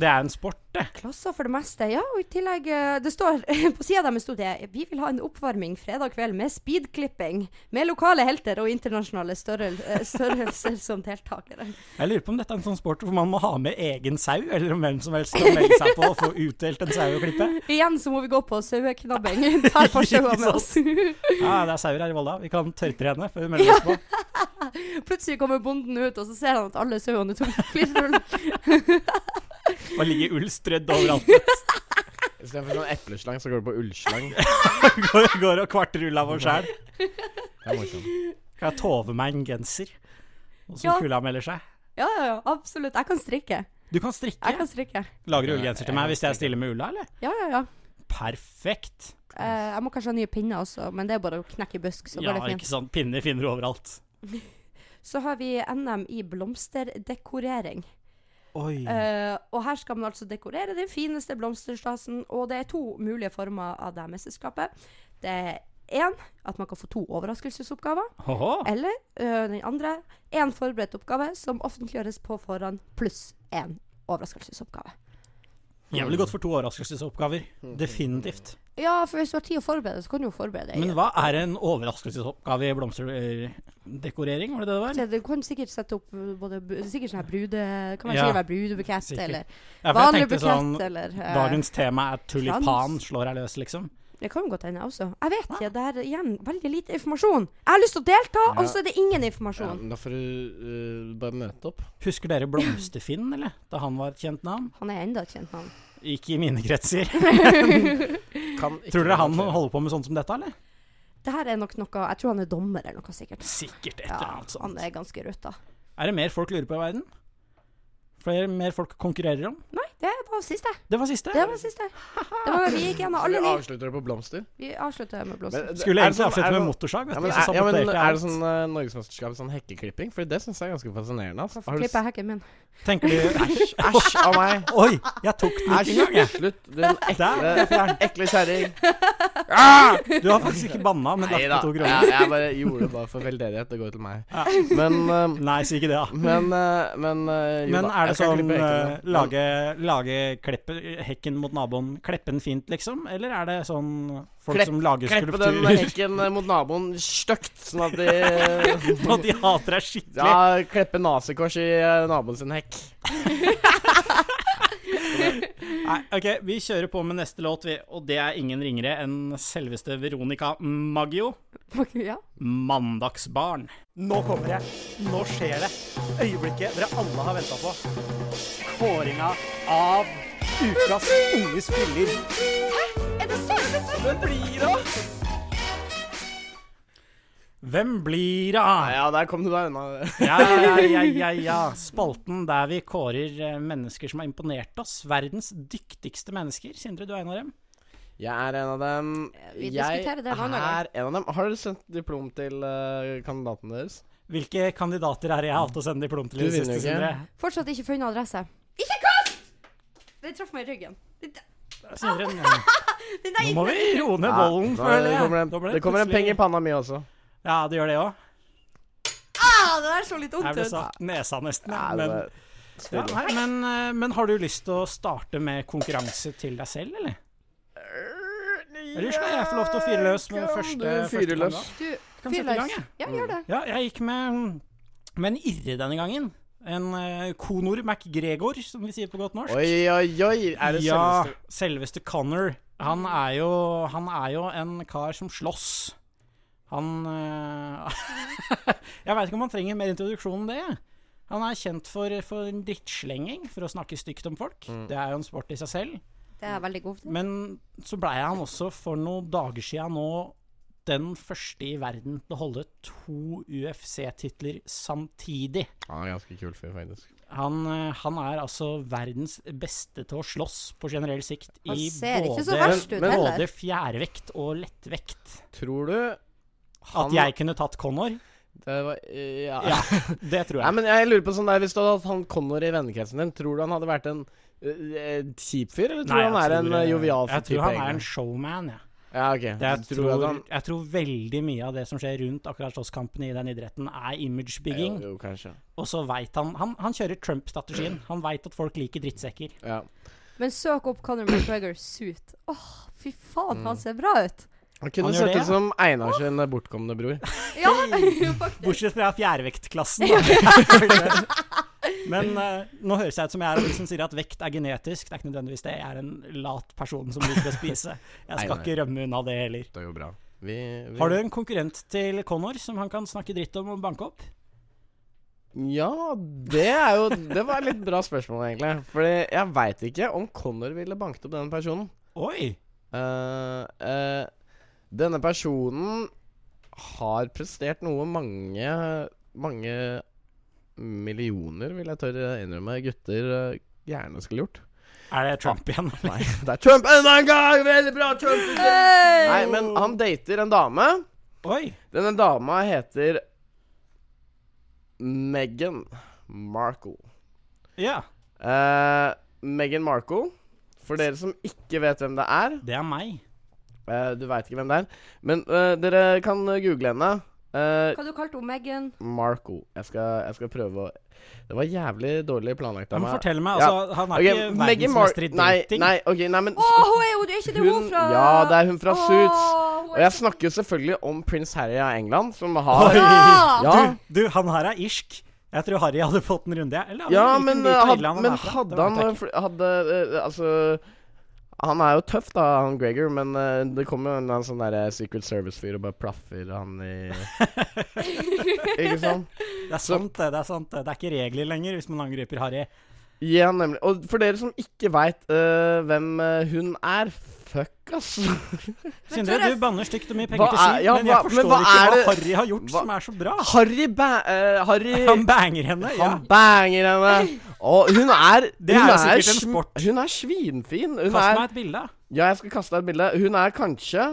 Speaker 2: Det er en sport, det.
Speaker 3: klasser for det meste. Ja, og i tillegg eh, Det står på sida deres sto det Vi vil ha en oppvarming fredag kveld med speedklipping. Med lokale helter og internasjonale størrel eh, størrelser som deltakere.
Speaker 2: Jeg lurer på om dette er en sånn sport hvor man må ha med egen sau, eller om hvem som helst kan melde seg på og få utdelt en sau å klippe.
Speaker 3: Igjen så må vi gå på saueknabbing. Ta på saua med oss.
Speaker 2: Ja, det er sauer her i Volda. Vi kan tørrtrene før vi melder oss på.
Speaker 3: Plutselig kommer bonden ut, og så ser han at alle sauene er tomme for flirrull.
Speaker 2: Og ligger ull strødd overalt.
Speaker 1: det. Istedenfor sånn epleslang, så går det på ullslang.
Speaker 2: Går, går og kvartruller av oss sjæl.
Speaker 1: Det er morsomt.
Speaker 2: Kan jeg tove meg en genser? Og så
Speaker 3: Ja.
Speaker 2: kulda melder seg.
Speaker 3: Ja, ja, ja. Absolutt. Jeg kan strikke.
Speaker 2: Du kan strikke.
Speaker 3: Jeg kan strikke.
Speaker 2: Lager du ullgenser til meg hvis jeg stiller med ulla, eller?
Speaker 3: Ja, ja, ja.
Speaker 2: Perfekt.
Speaker 3: Eh, jeg må kanskje ha nye pinner også, men det er bare å knekke busk, så
Speaker 2: Ja,
Speaker 3: går det
Speaker 2: ikke
Speaker 3: fint.
Speaker 2: sant. Pinner finner du overalt.
Speaker 3: Så har vi NM i blomsterdekorering.
Speaker 2: Oi.
Speaker 3: Eh, og her skal man altså dekorere den fineste blomsterstasen, og det er to mulige former av det mesterskapet. Det er én at man kan få to overraskelsesoppgaver,
Speaker 2: Håhå.
Speaker 3: eller eh, den andre én forberedt oppgave som offentliggjøres på forhånd, pluss én overraskelsesoppgave.
Speaker 2: Jeg ville gått for to overraskelsesoppgaver. Definitivt.
Speaker 3: Ja, for hvis du har tid å forberede, så kan du jo forberede deg.
Speaker 2: Men hva er en overraskelsesoppgave i blomsterdekorering, var det det det var?
Speaker 3: Så Du kan sikkert sette opp eh, både, bu- sikkert sånn her brude... Kan man
Speaker 2: Ja.
Speaker 3: sikkert være brudebukett,
Speaker 2: Sikkert.
Speaker 3: eller
Speaker 2: Ja, for jeg
Speaker 3: vanlig
Speaker 2: tenkte
Speaker 3: bukett,
Speaker 2: sånn
Speaker 3: eller eh,
Speaker 2: Dagens tema er tulipan,
Speaker 3: krans.
Speaker 2: slår jeg løs, liksom.
Speaker 3: Det kan jo godt hende, jeg også. Jeg vet ikke. Det er igjen veldig lite informasjon. Jeg har lyst til å delta, og så er det ingen
Speaker 1: Ja,
Speaker 3: informasjon.
Speaker 1: men da får du eh, bare møte opp.
Speaker 2: Husker dere Blomsterfinn, eller? Da han var et kjent navn?
Speaker 3: Han er enda et kjent navn.
Speaker 2: Ikke i mine kretser.
Speaker 1: Kan ikke
Speaker 2: Tror dere han
Speaker 1: relatere.
Speaker 2: holder på med sånt som dette, eller?
Speaker 3: Det her er nok noe Jeg tror han er dommer eller noe, sikkert.
Speaker 2: Sikkert et
Speaker 3: Ja,
Speaker 2: eller annet
Speaker 3: han
Speaker 2: sånt.
Speaker 3: er ganske ruta.
Speaker 2: Er det mer folk lurer på i verden? Flere mer folk konkurrerer om?
Speaker 3: Nei, det var siste.
Speaker 2: Det var siste.
Speaker 3: Det var siste. Det var, vi gikk gjennom
Speaker 1: Så vi
Speaker 3: alle ni.
Speaker 1: avslutter det på blomster?
Speaker 3: Vi avslutter med blomster.
Speaker 1: Men,
Speaker 2: Skulle
Speaker 1: er det sånn- er
Speaker 2: egentlig avslutte
Speaker 1: det
Speaker 2: med
Speaker 1: sånn-
Speaker 2: motorsag, vet
Speaker 1: Ja,
Speaker 2: du.
Speaker 1: men,
Speaker 2: så
Speaker 1: er, ja, men,
Speaker 2: saboterte jeg
Speaker 1: er det
Speaker 2: alt.
Speaker 1: sånn uh, norgesmesterskap i sånn hekkeklipping? For det syns jeg er ganske fascinerende. ass. Har du
Speaker 3: Klipp
Speaker 1: s-
Speaker 3: av hekken min.
Speaker 2: Tenker du
Speaker 1: Æsj æsj av meg!
Speaker 2: Oi, jeg tok den ikke
Speaker 1: Æsj,
Speaker 2: engang, jeg.
Speaker 1: slutt, din
Speaker 2: Der,
Speaker 1: ekle, ekle kjerring. Ah!
Speaker 2: Du har faktisk ikke banna, men lagt
Speaker 1: Nei da.
Speaker 2: på to kroner.
Speaker 1: Jeg, jeg bare gjorde det bare for veldedighet. Det går til meg. Men eh,
Speaker 2: Nei, si ikke det, da.
Speaker 1: Men, eh, men eh, jo
Speaker 2: Men
Speaker 1: da,
Speaker 2: er det
Speaker 1: jeg skal
Speaker 2: sånn
Speaker 1: klippe
Speaker 2: eh,
Speaker 1: hekken, da.
Speaker 2: lage, lage kleppe, hekken mot naboen Kleppen fint, liksom? Eller er det sånn folk
Speaker 1: Klepp-
Speaker 2: som lager
Speaker 1: Kleppe
Speaker 2: skulpturer
Speaker 1: den hekken eh, mot naboen stygt, sånn at de
Speaker 2: og de hater deg skikkelig?
Speaker 1: Ja, kleppe nazikors i eh, naboen sin hekk.
Speaker 2: Nei, ok, vi kjører på med neste låt, vi. Og det er ingen ringere enn selveste Veronica Maggio.
Speaker 3: ja.
Speaker 2: 'Mandagsbarn'. Nå kommer det. Nå skjer det. Øyeblikket dere alle har venta på. Kåringa av ukas unge spiller. Hvem blir det?
Speaker 1: Ja, der kom du deg unna.
Speaker 2: Ja, ja, ja, ja, ja. Spalten der vi kårer eh, mennesker som har imponert oss. Verdens dyktigste mennesker. Sindre, du er en av dem.
Speaker 1: Jeg er en av dem.
Speaker 3: Eh, Vi
Speaker 1: jeg
Speaker 3: diskuterer det en annen gang.
Speaker 1: er en av dem. Har dere sendt diplom til eh, kandidaten deres?
Speaker 2: Hvilke kandidater er det jeg har hatt å sende diplom til i
Speaker 1: Du
Speaker 2: det
Speaker 1: vinner
Speaker 2: siste,
Speaker 1: jo
Speaker 2: Sindre?
Speaker 1: ikke.
Speaker 3: Fortsatt ikke funnet adresse. Ikke kast! Det traff meg i ryggen. Det-
Speaker 2: Sindre, nå-
Speaker 3: det der
Speaker 2: nå
Speaker 3: gikk
Speaker 2: må vi roe ned
Speaker 1: Ja,
Speaker 2: volden,
Speaker 1: da-
Speaker 2: føler
Speaker 1: det
Speaker 2: jeg.
Speaker 1: kommer en,
Speaker 2: Da ble
Speaker 1: det kommer en peng i
Speaker 2: plutselig-
Speaker 1: panna mi også.
Speaker 2: Ja, det gjør det òg.
Speaker 3: Ah, det der så litt
Speaker 2: Jeg
Speaker 3: vondt
Speaker 2: ble
Speaker 3: ut.
Speaker 2: sagt nesa nesten.
Speaker 1: Ja, det
Speaker 2: Ja, men,
Speaker 1: var-
Speaker 2: ja, nei, men, eh, men har du lyst til å starte med konkurranse til deg selv, eller? Eller skal jeg få lov til å fyre løs med
Speaker 1: Kan
Speaker 2: første-
Speaker 1: du
Speaker 2: første
Speaker 1: fyre løs?
Speaker 2: kandidat?
Speaker 3: Du,
Speaker 2: Kan
Speaker 3: fyr
Speaker 2: sette i gang,
Speaker 3: løs.
Speaker 2: jeg.
Speaker 3: Ja, gjør det.
Speaker 2: Ja, jeg gikk med, med en irre denne gangen. En eh, Conor McGregor, som vi sier på godt norsk.
Speaker 1: Oi, oi, oi! Er det
Speaker 2: ja,
Speaker 1: selveste
Speaker 2: selveste Connor. Han er jo, han er jo en kar som slåss. Han eh, Jeg veit ikke om han trenger mer introduksjon enn det. Han er kjent for, for en drittslenging, for å snakke stygt om folk. Det er jo en sport i seg selv.
Speaker 3: Det er jeg veldig god til.
Speaker 2: Men så blei han også for noen dager sia nå den første i verden til å holde to UFC-titler samtidig.
Speaker 1: Han er ganske kul fyr, faktisk.
Speaker 2: Han, eh, han er altså verdens beste til å slåss på generell sikt
Speaker 3: Han
Speaker 2: i
Speaker 3: ser ikke så
Speaker 2: både,
Speaker 3: verst ut
Speaker 1: men-
Speaker 3: heller.
Speaker 2: både fjærvekt og lettvekt.
Speaker 1: Tror du
Speaker 2: At jeg kunne tatt Connor,
Speaker 1: Det var Ja.
Speaker 2: Ja. det tror
Speaker 1: Nei,
Speaker 2: jeg.
Speaker 1: men jeg lurer på sånn der Hvis du hadde hatt han Connor i vennekretsen din, tror du han hadde vært en eh, kjip fyr, eller tror
Speaker 2: Nei,
Speaker 1: du han er en eh,
Speaker 2: jeg-
Speaker 1: jovial
Speaker 2: Jeg
Speaker 1: type,
Speaker 2: tror han er en
Speaker 1: egentlig?
Speaker 2: showman, jeg.
Speaker 1: Ja, ok.
Speaker 2: Det jeg,
Speaker 1: Du tror at
Speaker 2: tror,
Speaker 1: han-
Speaker 2: jeg tror veldig mye av det som skjer rundt akkurat slåsskampene i den idretten, er imagebygging.
Speaker 1: Jo, jo, kanskje.
Speaker 2: Og så veit han, han Han kjører Trump-strategien. Han veit at folk liker drittsekker.
Speaker 1: Ja.
Speaker 3: Men søk opp Conor McGregor suit. Åh, fy faen,
Speaker 1: Mm.
Speaker 3: han ser bra ut.
Speaker 1: Han kunne
Speaker 2: gjør
Speaker 1: sett
Speaker 2: det,
Speaker 1: ut som Einar sin eh, bortkomne bror.
Speaker 3: Ja, faktisk.
Speaker 2: Bortsett fra fjærvektklassen, da. Men eh, nå høres jeg ut som jeg er en som sier at vekt er genetisk. Det er ikke nødvendigvis det. Jeg er en lat person som liker å spise. Jeg skal
Speaker 1: Nei, nei.
Speaker 2: ikke rømme unna det heller.
Speaker 1: Det er jo bra. Vi, vi...
Speaker 2: Har du en konkurrent til Connor som han kan snakke dritt om og banke opp?
Speaker 1: Ja, det er jo Det var et litt bra spørsmål, egentlig. Fordi jeg veit ikke om Connor ville banket opp denne personen.
Speaker 2: Oi!
Speaker 1: Eh, eh, denne personen har prestert noe mange Mange millioner, vil jeg tørre innrømme, gutter eh, gjerne skulle gjort.
Speaker 2: Er det Trump igjen?
Speaker 1: Nei, det er Trump enda en gang! Veldig bra, Trump!
Speaker 3: Hey!
Speaker 1: Nei, men han dater en dame.
Speaker 2: Oi!
Speaker 1: Denne dama heter Meghan Markle.
Speaker 2: Ja,
Speaker 1: Eh, Meghan Markle, for dere som ikke vet hvem det er,
Speaker 2: det er meg.
Speaker 1: Eh, du veit ikke hvem det er. Men eh, dere kan eh, google henne. Eh,
Speaker 3: Hva du kalte du Megan?
Speaker 1: Marco. Jeg skal, jeg skal prøve å Det var jævlig dårlig planlagt
Speaker 2: Ja,
Speaker 1: av
Speaker 2: men
Speaker 1: meg.
Speaker 2: fortell meg,
Speaker 1: Ja.
Speaker 2: altså. Han er
Speaker 1: Ok,
Speaker 2: ikke
Speaker 1: Meghan
Speaker 2: verdensmester i
Speaker 1: Mar- nei,
Speaker 2: dating.
Speaker 1: nei, ok, nei, men
Speaker 3: Å, hun er jo det er ikke det hun
Speaker 1: Hun-
Speaker 3: fra
Speaker 1: ja, det er hun fra
Speaker 3: Åh,
Speaker 1: Suits.
Speaker 3: hun
Speaker 1: Og
Speaker 3: er
Speaker 1: jeg
Speaker 3: så-
Speaker 1: snakker jo selvfølgelig om prins Harry av England, som
Speaker 2: Oi.
Speaker 1: har
Speaker 3: Ja!
Speaker 1: Ja,
Speaker 2: Du, han her er irsk. Jeg tror Harry hadde fått en runde, jeg. Eller,
Speaker 1: ja
Speaker 2: han
Speaker 1: men,
Speaker 2: liker mye
Speaker 1: eh, had,
Speaker 2: Irland han
Speaker 1: men
Speaker 2: er fra.
Speaker 1: hadde
Speaker 2: Det vet
Speaker 1: han
Speaker 2: jeg
Speaker 1: eh,
Speaker 2: ikke.
Speaker 1: fl- Hadde eh, Altså han er jo tøff, da, han Gregor, men eh, det kommer jo en eller annen sånn der Secret Service-fyr og bare plaffer han i Ikke sant?
Speaker 2: Det er sant, det. Det er sant det. det er ikke regler lenger hvis man angriper Harry.
Speaker 1: Ja, nemlig. Og for dere som ikke veit øh, hvem øh, hun er Fuck, ass.
Speaker 2: Sindre,
Speaker 3: Torres-
Speaker 2: du banner stygt og mye
Speaker 1: Hva
Speaker 2: penger til
Speaker 1: er-
Speaker 2: Siv,
Speaker 1: ja,
Speaker 2: men jeg
Speaker 1: hva-
Speaker 2: forstår
Speaker 1: men hva
Speaker 2: ikke
Speaker 1: er
Speaker 2: hva
Speaker 1: det-
Speaker 2: Harry har gjort
Speaker 1: hva-
Speaker 2: som er så bra.
Speaker 1: Harry ba... øh, Harry
Speaker 2: Han banger henne, ja.
Speaker 1: Han banger henne. Og hun er
Speaker 2: Det er
Speaker 1: hun
Speaker 2: jo sikkert en
Speaker 1: sm-
Speaker 2: sport.
Speaker 1: Hun er svinfin. Hun
Speaker 2: Kast
Speaker 1: er
Speaker 2: meg et bilde.
Speaker 1: Ja, jeg skal kaste deg et bilde. Hun er kanskje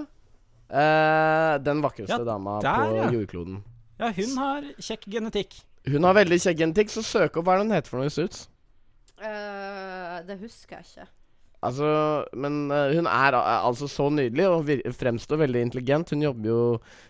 Speaker 1: øh, den vakreste
Speaker 2: Ja,
Speaker 1: dama
Speaker 2: der,
Speaker 1: på
Speaker 2: ja.
Speaker 1: jordkloden.
Speaker 2: Ja, hun har kjekk genetikk.
Speaker 1: Hun har veldig kjekk genetikk, så søk opp hva er det hun heter for noe i Suits.
Speaker 3: Eh, det husker jeg ikke.
Speaker 1: Altså, men eh, hun er eh, altså så nydelig og vir fremstår veldig intelligent. Hun jobber jo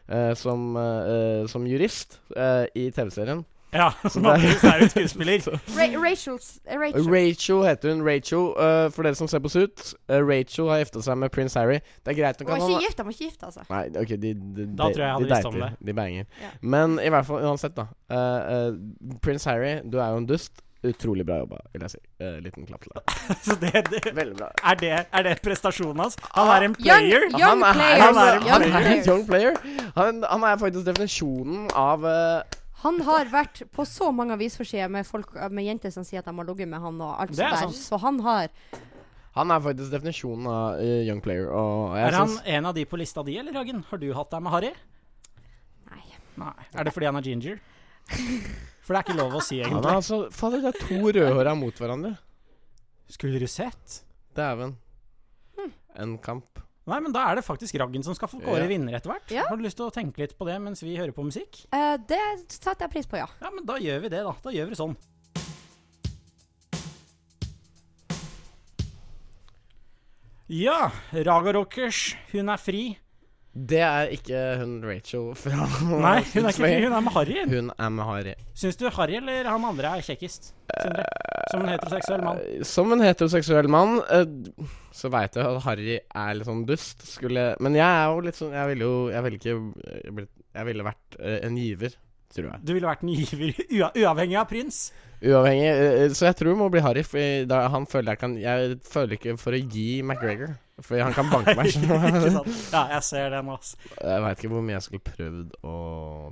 Speaker 1: eh, som, eh, eh, som jurist eh, i TV-serien.
Speaker 2: Ja, som vanligvis er hun skuespiller.
Speaker 3: Ra Rachel's, eh, Rachel.
Speaker 1: Rachel heter hun. Rachel, eh, for dere som ser på Suits, eh, Rachel har gifta seg med prins Harry. Det er greit nok
Speaker 3: Hun var
Speaker 1: at han
Speaker 3: ikke gift, de var ikke gift, altså.
Speaker 1: Nei, ok, de, de,
Speaker 2: Da
Speaker 1: de-
Speaker 2: tror jeg jeg
Speaker 1: de
Speaker 2: hadde visst om
Speaker 1: dater, De banger.
Speaker 3: Ja.
Speaker 1: Men i hvert fall, uansett, da. eh, eh, Prins Harry, du er jo en dust. Utrolig bra jobba, vil jeg si. Eh, liten klapp til deg.
Speaker 2: Så det, det,
Speaker 1: Veldig bra.
Speaker 2: er, det, er det prestasjonen hans?
Speaker 1: Ah,
Speaker 2: Han er en player.
Speaker 3: Young, young
Speaker 1: han, er,
Speaker 3: player.
Speaker 1: han, er, han er
Speaker 2: young
Speaker 1: en
Speaker 3: players.
Speaker 1: young player. Han, han er faktisk definisjonen av eh,
Speaker 3: Han har vært på så mange avisforsider med, folk- med jenter som sier at de har ligget med han og alt
Speaker 2: Det er
Speaker 3: sånt der.
Speaker 2: sant.
Speaker 3: Så han har
Speaker 1: Han er faktisk definisjonen av eh, young player. Og jeg
Speaker 2: Er han
Speaker 1: syns-
Speaker 2: en av de på lista di, eller, Hagen? Har du hatt deg med Harry?
Speaker 3: Nei.
Speaker 2: Nei. Er det fordi han er ginger? For det er ikke lov å si,
Speaker 1: han er
Speaker 2: egentlig.
Speaker 1: altså Fader, det er to rødhåra mot hverandre.
Speaker 2: Skulle du sett?
Speaker 1: Dæven. En kamp.
Speaker 2: Nei, men da er det faktisk Raggen som skal få
Speaker 1: Ja.
Speaker 2: kåre vinner etter hvert.
Speaker 3: Ja.
Speaker 2: Har du lyst til å tenke litt på det mens vi hører på musikk?
Speaker 3: eh, Det setter jeg pris på, ja.
Speaker 2: Ja, men da gjør vi det, da. Da gjør vi det sånn. Ja, Raga Rockers, hun er fri.
Speaker 1: Det er ikke hun Rachel fra
Speaker 2: Nei, hun er ikke fri, hun er med Harry.
Speaker 1: Hun er med Harry.
Speaker 2: Syns du Harry eller han andre er kjekkest? Sindre? Som en heteroseksuell mann.
Speaker 1: Som en heteroseksuell mann, eh, så veit jeg at Harry er litt sånn dust. Skulle Men jeg er jo litt sånn Jeg ville jo Jeg ville ikke eh, blitt Jeg ville vært eh, en giver, tror jeg.
Speaker 2: Du ville vært en giver ua uavhengig av prins.
Speaker 1: Uavhengig. eh, eh, Så jeg tror det må bli Harry, for da, han føler jeg kan Jeg føler ikke for å gi McGregor. For han kan banke meg.
Speaker 2: Ikke
Speaker 1: så-
Speaker 2: sant? Ja, jeg ser den, ass.
Speaker 1: jeg veit ikke hvor mye jeg skulle prøvd å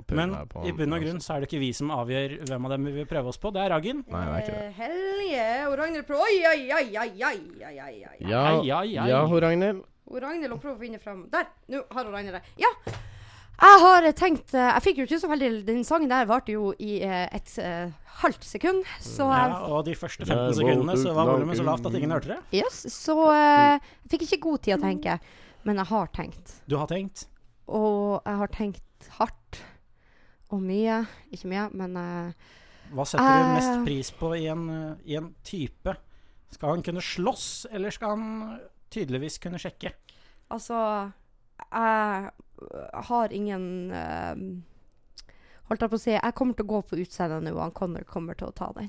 Speaker 1: prøve
Speaker 2: Men
Speaker 1: meg på.
Speaker 2: i
Speaker 1: han,
Speaker 2: bunn og
Speaker 1: altså.
Speaker 2: grunn så er det ikke vi som avgjør hvem av dem vi vil prøve oss på. Det er Raggen.
Speaker 1: Nei, det er ikke det.
Speaker 3: Eh, Helge og Ragnhild prøver Oi, oi, oi, oi, oi, oi, oi, oi.
Speaker 1: Ja,
Speaker 2: Ai, ai, ai.
Speaker 1: ja ho Ragnhild.
Speaker 3: Og Ragnhild hun prøver å finne fram Der! Nå har hun Ragnhild det. Ja! Jeg har tenkt eh, Jeg fikk jo ikke så veldig Den sangen der varte jo i eh, et eh, halvt sekund, så jeg
Speaker 2: Ja, og de første
Speaker 1: Det er
Speaker 2: 15 sekundene så var
Speaker 1: voldtekt,
Speaker 2: volumet så lavt at ingen hørte det.
Speaker 3: Yes, så eh, jeg fikk ikke god tid å tenke, men jeg har tenkt.
Speaker 2: Du har tenkt.
Speaker 3: Og jeg har tenkt hardt og mye. Ikke mye, men eh,
Speaker 2: Hva setter du
Speaker 3: Eh.
Speaker 2: mest pris på i en, eh, i en type? Skal han kunne slåss, eller skal han tydeligvis kunne sjekke?
Speaker 3: altså Jeg har ingen eh, Holdt jeg på å si Jeg kommer til å gå på utseendet nå, og han Connor kommer til å ta den.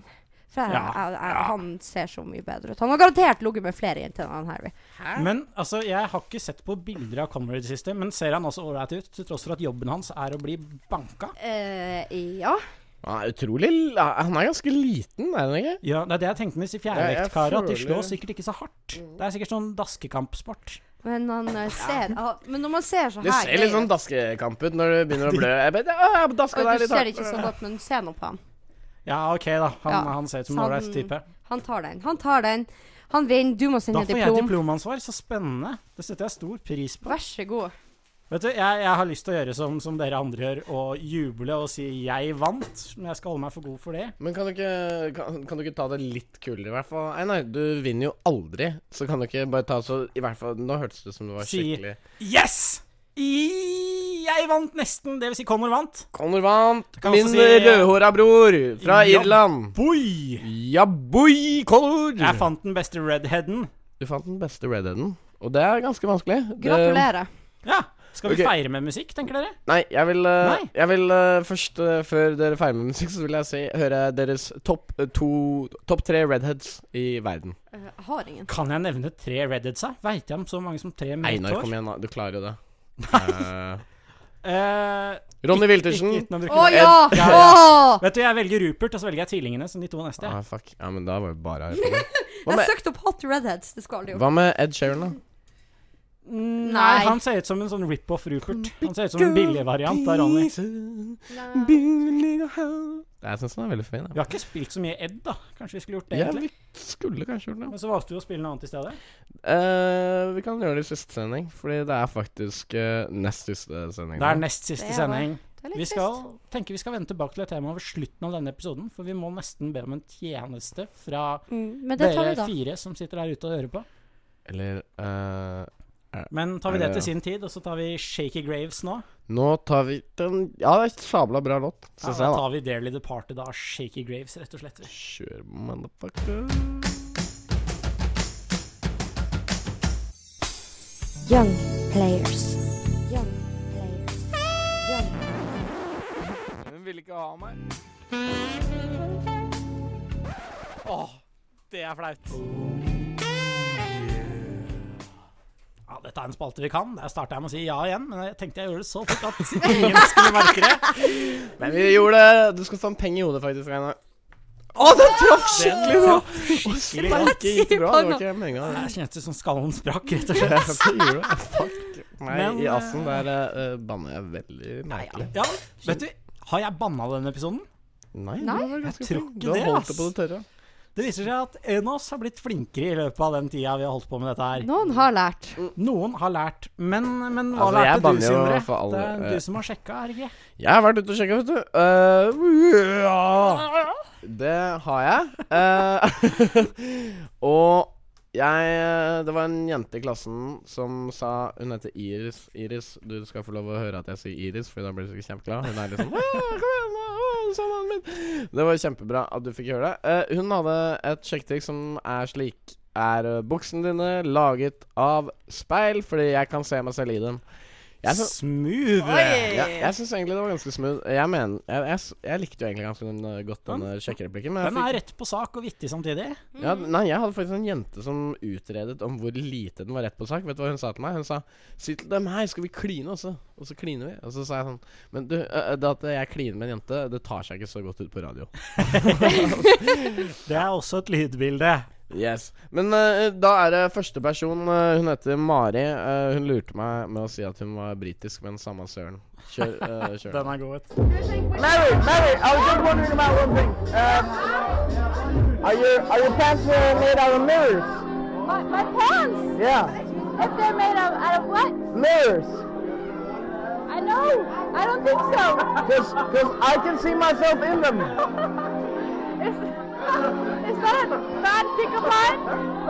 Speaker 3: For jeg,
Speaker 2: Ja,
Speaker 3: jeg, jeg,
Speaker 2: ja.
Speaker 3: han ser så mye bedre ut. Han har garantert ligget med flere jenter enn han Harry.
Speaker 2: Men altså, jeg har ikke sett på bilder av Conrad i det siste, men ser han også ålreit ut, til tross for at jobben hans er å bli banka?
Speaker 3: Eh, ja.
Speaker 1: Han er utrolig l- Han er ganske liten, er han ikke?
Speaker 2: Ja, det er det jeg tenkte med disse
Speaker 1: jeg
Speaker 2: fjærvektkarene, at de
Speaker 1: føler-
Speaker 2: slår sikkert ikke så hardt.
Speaker 3: Mm.
Speaker 2: Det er sikkert sånn daskekampsport.
Speaker 3: Men han eh, ser ah, Men når man ser så
Speaker 1: Det
Speaker 3: her
Speaker 1: ser litt
Speaker 3: grei
Speaker 1: sånn
Speaker 3: ut,
Speaker 1: daskekamp ut når du begynner å blø. Jeg bare, «Å, jeg daska
Speaker 3: og
Speaker 1: deg
Speaker 3: Du
Speaker 1: litt
Speaker 3: ser det
Speaker 1: hardt.
Speaker 3: ikke så godt, men se nå på han.
Speaker 2: Ja, ok, da. Han,
Speaker 3: Ja,
Speaker 2: han ser ut som en
Speaker 3: så
Speaker 2: ålreit
Speaker 3: han-
Speaker 2: type.
Speaker 3: Han tar den. Han tar den. Han vinner. Du må
Speaker 2: Da
Speaker 3: sende
Speaker 2: får jeg
Speaker 3: diplom.
Speaker 2: diplomansvar. Så spennende. Det setter jeg stor pris på.
Speaker 3: Vær så god.
Speaker 2: Vet du, jeg, jeg har lyst til å gjøre som, som dere andre gjør, og juble og si 'jeg vant', men jeg skal holde meg for god for det.
Speaker 1: Men kan du, ikke, kan, kan du ikke ta det litt kulere, i hvert fall? Nei, nei, du vinner jo aldri. Så kan du ikke bare ta så I hvert fall Nå hørtes det ut som du var
Speaker 2: Si-
Speaker 1: skikkelig
Speaker 2: Yes! I, jeg vant nesten, det vil si Connor vant.
Speaker 1: Connor vant!
Speaker 2: kan
Speaker 1: Min
Speaker 2: også si-
Speaker 1: rødhåra bror fra
Speaker 2: Ja.
Speaker 1: Irland.
Speaker 2: Boy!
Speaker 1: Ja, boy,
Speaker 2: Jeg
Speaker 1: Connor!
Speaker 2: fant den beste redheaden.
Speaker 1: Du fant den beste redheaden, og det er ganske vanskelig. Det-
Speaker 3: Gratulerer.
Speaker 2: Ja, skal vi
Speaker 1: Ok.
Speaker 2: feire med musikk, tenker dere?
Speaker 1: Nei, jeg vil, eh,
Speaker 2: Nei.
Speaker 1: Jeg vil eh, først, eh, før dere feirer med musikk, så vil jeg si høre deres topp eh, to Topp tre redheads i verden.
Speaker 3: Eh, Jeg har ingen.
Speaker 2: Kan jeg nevne tre redheadsa? Veit jeg om så mange som tre med
Speaker 1: Einar,
Speaker 2: hvitt
Speaker 1: kom
Speaker 2: hår?
Speaker 1: igjen, da. Du klarer jo det. Eh,
Speaker 2: Eh,
Speaker 1: Ronny
Speaker 2: ikke
Speaker 1: Wiltersen.
Speaker 2: uten å bruke
Speaker 3: Å
Speaker 2: navn.
Speaker 3: ja!
Speaker 2: Ja,
Speaker 3: Åh!
Speaker 2: Vet du, jeg velger Rupert, og så velger jeg tvillingene som de to neste.
Speaker 1: Ah, fuck. Ja, men da var det bare Hva
Speaker 3: Jeg
Speaker 1: med,
Speaker 3: søkte opp Hot Redheads. Det skal du jo.
Speaker 1: hva med Ed Sheeran, da?
Speaker 2: Nei,
Speaker 3: Nei.
Speaker 2: han ser ut som en sånn rip-off Rupert. Han ser ut som en billig variant av Ronny.
Speaker 1: Jeg syns den er veldig fin.
Speaker 2: Vi har ikke spilt så mye Ed, da. Kanskje vi skulle gjort det,
Speaker 1: Ja,
Speaker 2: egentlig.
Speaker 1: vi skulle kanskje gjort det.
Speaker 2: Men så valgte vi å spille noe annet i stedet.
Speaker 1: Eh, vi kan gjøre det i siste sending, Fordi det er faktisk eh, nest siste sending.
Speaker 2: Det er nest siste
Speaker 3: Det er
Speaker 2: sending.
Speaker 3: Det er
Speaker 2: Vi
Speaker 3: litt
Speaker 2: skal,
Speaker 3: trist.
Speaker 2: tenker vi skal vende tilbake til det temaet ved slutten av denne episoden, for vi må nesten be om en tjeneste fra
Speaker 3: Mm, men det tar
Speaker 2: dere
Speaker 3: vi da.
Speaker 2: fire som sitter der ute og hører på.
Speaker 1: Eller eh,
Speaker 2: Men tar vi
Speaker 1: Er
Speaker 2: det
Speaker 1: det-
Speaker 2: til sin tid, og så tar vi Shaky Graves nå.
Speaker 1: Nå tar vi den Ja, det er et sabla bra låt,
Speaker 2: Ja,
Speaker 1: syns
Speaker 2: da
Speaker 1: jeg,
Speaker 2: tar vi Dearly Departed av Shaky Graves, rett og slett.
Speaker 1: da. Kjør, motherfucker.
Speaker 4: Young players. Young players. Young
Speaker 1: Hun ville ikke ha meg.
Speaker 2: Åh, det er flaut. Ja, dette er en spalte vi kan. Der starta jeg med å si ja igjen, men jeg tenkte jeg gjorde det så fort at ingen skulle merke det.
Speaker 1: Men vi gjorde det. Du skal få en peng i hodet, faktisk, Einar. Å, den traff skikkelig bra! Å,
Speaker 2: skikkelig bra.
Speaker 1: Ikke gikk bra. Det var ikke meninga.
Speaker 2: Jeg kjente som skallen sprakk, rett og
Speaker 1: Jeg
Speaker 2: slett.
Speaker 1: skal ikke gjøre det. Fuck. Nei,
Speaker 2: Men,
Speaker 1: i assen
Speaker 2: eh,
Speaker 1: der eh, banner jeg veldig merkelig.
Speaker 2: Ja, vet du, har jeg banna denne episoden?
Speaker 1: Nei,
Speaker 3: Nei,
Speaker 1: du var ganske
Speaker 2: jeg tror
Speaker 1: flink.
Speaker 2: ikke
Speaker 1: Du har
Speaker 2: det,
Speaker 1: holdt det
Speaker 2: ass.
Speaker 1: på det tørre.
Speaker 2: Det viser seg at en av oss har blitt flinkere i løpet av den tida vi har holdt på med dette her.
Speaker 3: Noen har lært.
Speaker 2: Noen har lært, men, men hva
Speaker 1: Altså, jeg
Speaker 2: lærte
Speaker 1: banner
Speaker 2: du,
Speaker 1: jo
Speaker 2: Sindre?
Speaker 1: for alle,
Speaker 2: Det er
Speaker 1: eh,
Speaker 2: du som har sjekka, er det ikke?
Speaker 1: Jeg har vært ute og sjekka, vet du. Eh, ja. Det har jeg. Eh, og jeg eh, Det var en jente i klassen som sa Hun heter Iris. Iris, du skal få lov å høre at jeg sier Iris, for da blir du sikkert kjempeglad. Hun er liksom «Åh, kom igjen, åh, sommeren min. Det var kjempebra at du fikk høre det. Eh, hun hadde et sjekketriks som er slik Er eh, buksene dine laget av speil? Fordi jeg kan se meg selv i dem. Jeg er så-
Speaker 2: Smooth!
Speaker 1: ja, jeg syns egentlig det var ganske smooth. Jeg, mener, jeg, jeg, s- jeg likte jo egentlig ganske den, uh, godt denne sjekkereplikken. Men jeg
Speaker 2: Den er
Speaker 1: fikk,
Speaker 2: rett på sak og vittig samtidig.
Speaker 1: ja, nei, jeg hadde faktisk en jente som utredet om hvor lite den var rett på sak. Vet du hva hun sa til meg? Hun sa 'Si til dem her, skal vi kline også?' Og så kliner vi. Og så sa jeg sånn 'Men du, ø, ø, det at jeg kliner med en jente, det tar seg ikke så godt ut på radio'.
Speaker 2: Det er også et lydbilde.
Speaker 1: Yes. Men eh, da er det første person. eh, hun heter Mari. Eh, hun lurte meg med å si at hun var britisk, men samme søren. Kjør. eh, kjør.
Speaker 2: Den er god.
Speaker 8: Mary, Mary, I was just wondering about one thing. Um, are your are your pants uh, made out of mirrors?
Speaker 9: My, my pants!
Speaker 8: Yeah,
Speaker 9: If they're made out, out of what?
Speaker 8: mirrors.
Speaker 9: I know! I don't think so!
Speaker 8: Cause, Cause I can see myself in them. No,
Speaker 9: Is, is that a bad pickup line?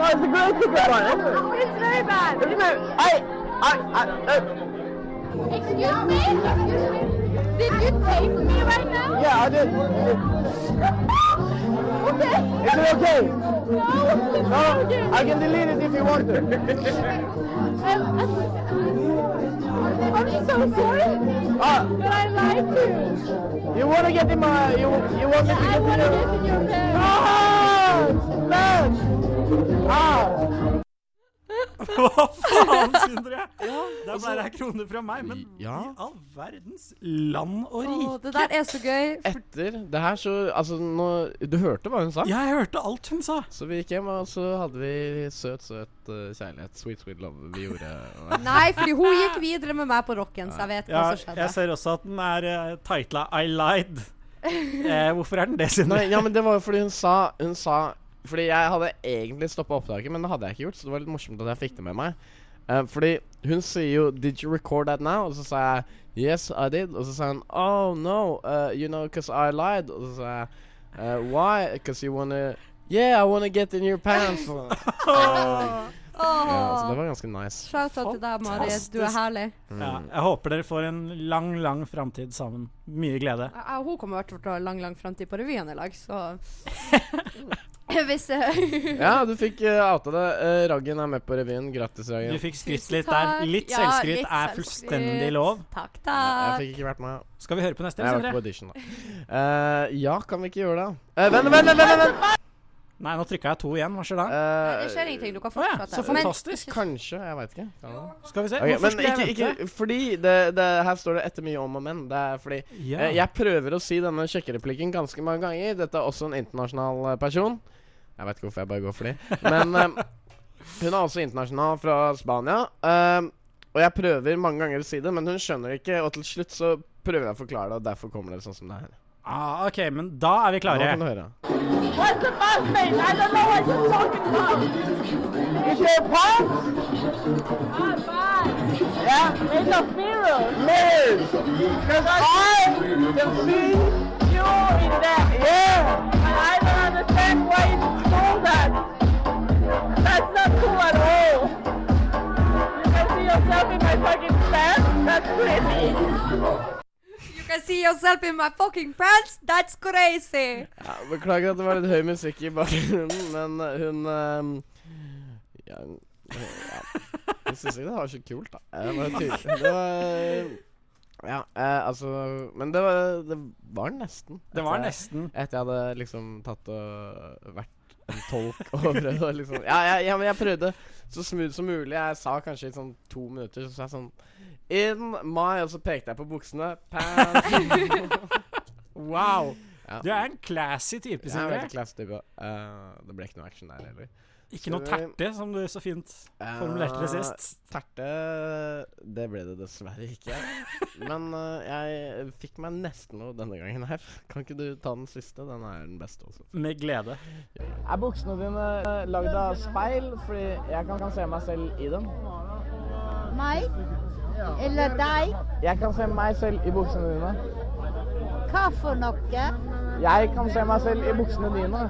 Speaker 8: it's a great pickup line, isn't it?
Speaker 9: It's very bad.
Speaker 8: Isn't it? I, I, I. Uh,
Speaker 9: Excuse me? Excuse me? Did you tape me right now?
Speaker 8: yeah, I did.
Speaker 9: okay.
Speaker 8: Is it okay?
Speaker 9: No.
Speaker 8: No, I can delete it if you want to.
Speaker 9: I'm, I'm, I'm so sorry
Speaker 8: Ah,
Speaker 9: that I lied to you.
Speaker 8: you wanna get in my? You you want me to
Speaker 9: I
Speaker 8: get in
Speaker 9: want to
Speaker 8: your?
Speaker 9: get in your pants.
Speaker 8: Ah, man. Ah.
Speaker 2: Hva faen, Sindre? Der ble det ei krone fra meg, men
Speaker 1: altså- Ja.
Speaker 2: i all verdens land og
Speaker 3: Åh,
Speaker 2: rike
Speaker 3: det der er så gøy. For
Speaker 1: Etter det her, så Altså, nå Du hørte hva hun sa?
Speaker 2: Jeg hørte alt hun sa.
Speaker 1: Så vi gikk hjem, og så hadde vi søt, søt eh, kjærlighet. Sweet, sweet love. Vi gjorde
Speaker 3: Nei, fordi hun gikk videre med meg på rocken, så jeg vet hva som skjedde.
Speaker 2: jeg ser også at den er uh, titla I lied. Eh, hvorfor er den det,
Speaker 1: Nei,
Speaker 2: Sindre?
Speaker 1: ja, men det var jo fordi hun sa Hun sa Fordi jeg hadde egentlig stoppa opptaket, men det hadde jeg ikke gjort, så det var litt morsomt at jeg fikk det med meg. Eh, fordi hun sier jo 'Did you record that now?' Og så sa jeg 'Yes, I did'. Og så sa hun 'Oh no, eh, you know, cause I lied'. Og så sa jeg eh, 'Why? Cause you wanna Yeah, I wanna get in your pants'. ja, så det var ganske nice.
Speaker 3: Shout-out til deg, Mari. Du er
Speaker 2: altså, Fantastisk.
Speaker 3: herlig.
Speaker 2: Ja, jeg håper dere får en lang, lang framtid sammen. Mye glede.
Speaker 3: Jeg- jeg- Hun kommer til å ha lang, lang framtid på revyen i lag, så Hvis eh,
Speaker 1: Ja, du fikk uh, outa det. Eh, Raggen er med på revyen. Grattis, Raggen.
Speaker 2: Du fikk skrytt
Speaker 3: Tusen
Speaker 2: litt der.
Speaker 3: takk.
Speaker 2: Litt
Speaker 3: Ja,
Speaker 2: selvskryt
Speaker 3: litt
Speaker 2: er
Speaker 3: selvskryt.
Speaker 2: fullstendig lov.
Speaker 3: Takk,
Speaker 1: Jeg
Speaker 3: takk.
Speaker 1: fikk ikke vært med.
Speaker 2: Skal vi høre på neste,
Speaker 1: Jeg har vært på
Speaker 2: Sindre?
Speaker 1: audition, da. Eh, ja, kan vi ikke gjøre det? Uh, vent, vent, vent! vent, vent.
Speaker 2: Nei, nå trykka jeg to igjen. Hva skjer da?
Speaker 3: Nei, det
Speaker 1: Eh,
Speaker 3: skjer ingenting. Du kan
Speaker 2: Å ja,
Speaker 3: fortsette.
Speaker 2: så fantastisk.
Speaker 1: kanskje. Jeg veit ikke. Kan det?
Speaker 2: Skal vi se.
Speaker 1: Ok,
Speaker 2: Hvorfor
Speaker 1: men
Speaker 2: skulle
Speaker 1: ikke,
Speaker 2: jeg vente?
Speaker 1: ikke Fordi det, det, her står det 'etter mye om og men'. Det er fordi
Speaker 2: Ja.
Speaker 1: eh, Jeg prøver å si denne sjekkereplikken ganske mange ganger. Dette er også en internasjonal eh, person. Jeg veit ikke hvorfor jeg bare går for de. Men eh, hun er også internasjonal fra Spania. eh, og jeg prøver mange ganger å si det, men hun skjønner det ikke. Og til slutt så prøver jeg å forklare det, og derfor kommer det sånn som det er.
Speaker 2: Ah, OK, men da er vi
Speaker 1: Nå
Speaker 2: klare.
Speaker 1: kan du høre.
Speaker 9: What's the bus made? I don't know what you're talking about.
Speaker 8: Is your pants?
Speaker 9: Ah, bye.
Speaker 8: Yeah.
Speaker 9: It's a mirror.
Speaker 8: Mirrors. Cause I can see you in that. Yeah.
Speaker 9: And I don't understand why you stole that. That's not cool at all. You can see yourself in my fucking pants? That's crazy.
Speaker 3: You can see yourself in my fucking pants. That's crazy.
Speaker 1: Ja, beklager at det var litt høy musikk i bakgrunnen, men eh, hun eh, ehm, ja, hun- ja. Hun Cecilie det var så kult, da. Det var, tydelig. det var Ja, eh, altså Men det var, det var nesten.
Speaker 2: Det var
Speaker 1: Etter-
Speaker 2: nesten
Speaker 1: Etter jeg hadde liksom tatt og vært en tolk og prøvd å liksom ja, ja, ja, men jeg prøvde så smooth som mulig. Jeg sa kanskje i sånn to minutter, så sa jeg sånn In my Og så pekte jeg på buksene. Pants.
Speaker 2: Wow.
Speaker 1: Ja.
Speaker 2: Du er en classy type,
Speaker 1: Jeg er
Speaker 2: Sindre.
Speaker 1: veldig classy type. Eh, det ble ikke noe action der heller.
Speaker 2: Ikke noe terte, som du så fint
Speaker 1: Eh,
Speaker 2: formulerte det sist.
Speaker 1: Terte Det ble det dessverre ikke. Men eh, jeg fikk meg nesten noe denne gangen her. Kan ikke du ta den siste? Den er den beste også.
Speaker 2: Med glede.
Speaker 1: Er buksene dine eh, lagd av speil? Fordi jeg kan, kan se meg selv i dem.
Speaker 10: Meg? Eller deg?
Speaker 1: Jeg kan se meg selv i buksene dine.
Speaker 10: Hva for noe?
Speaker 1: Jeg kan se meg selv i buksene dine.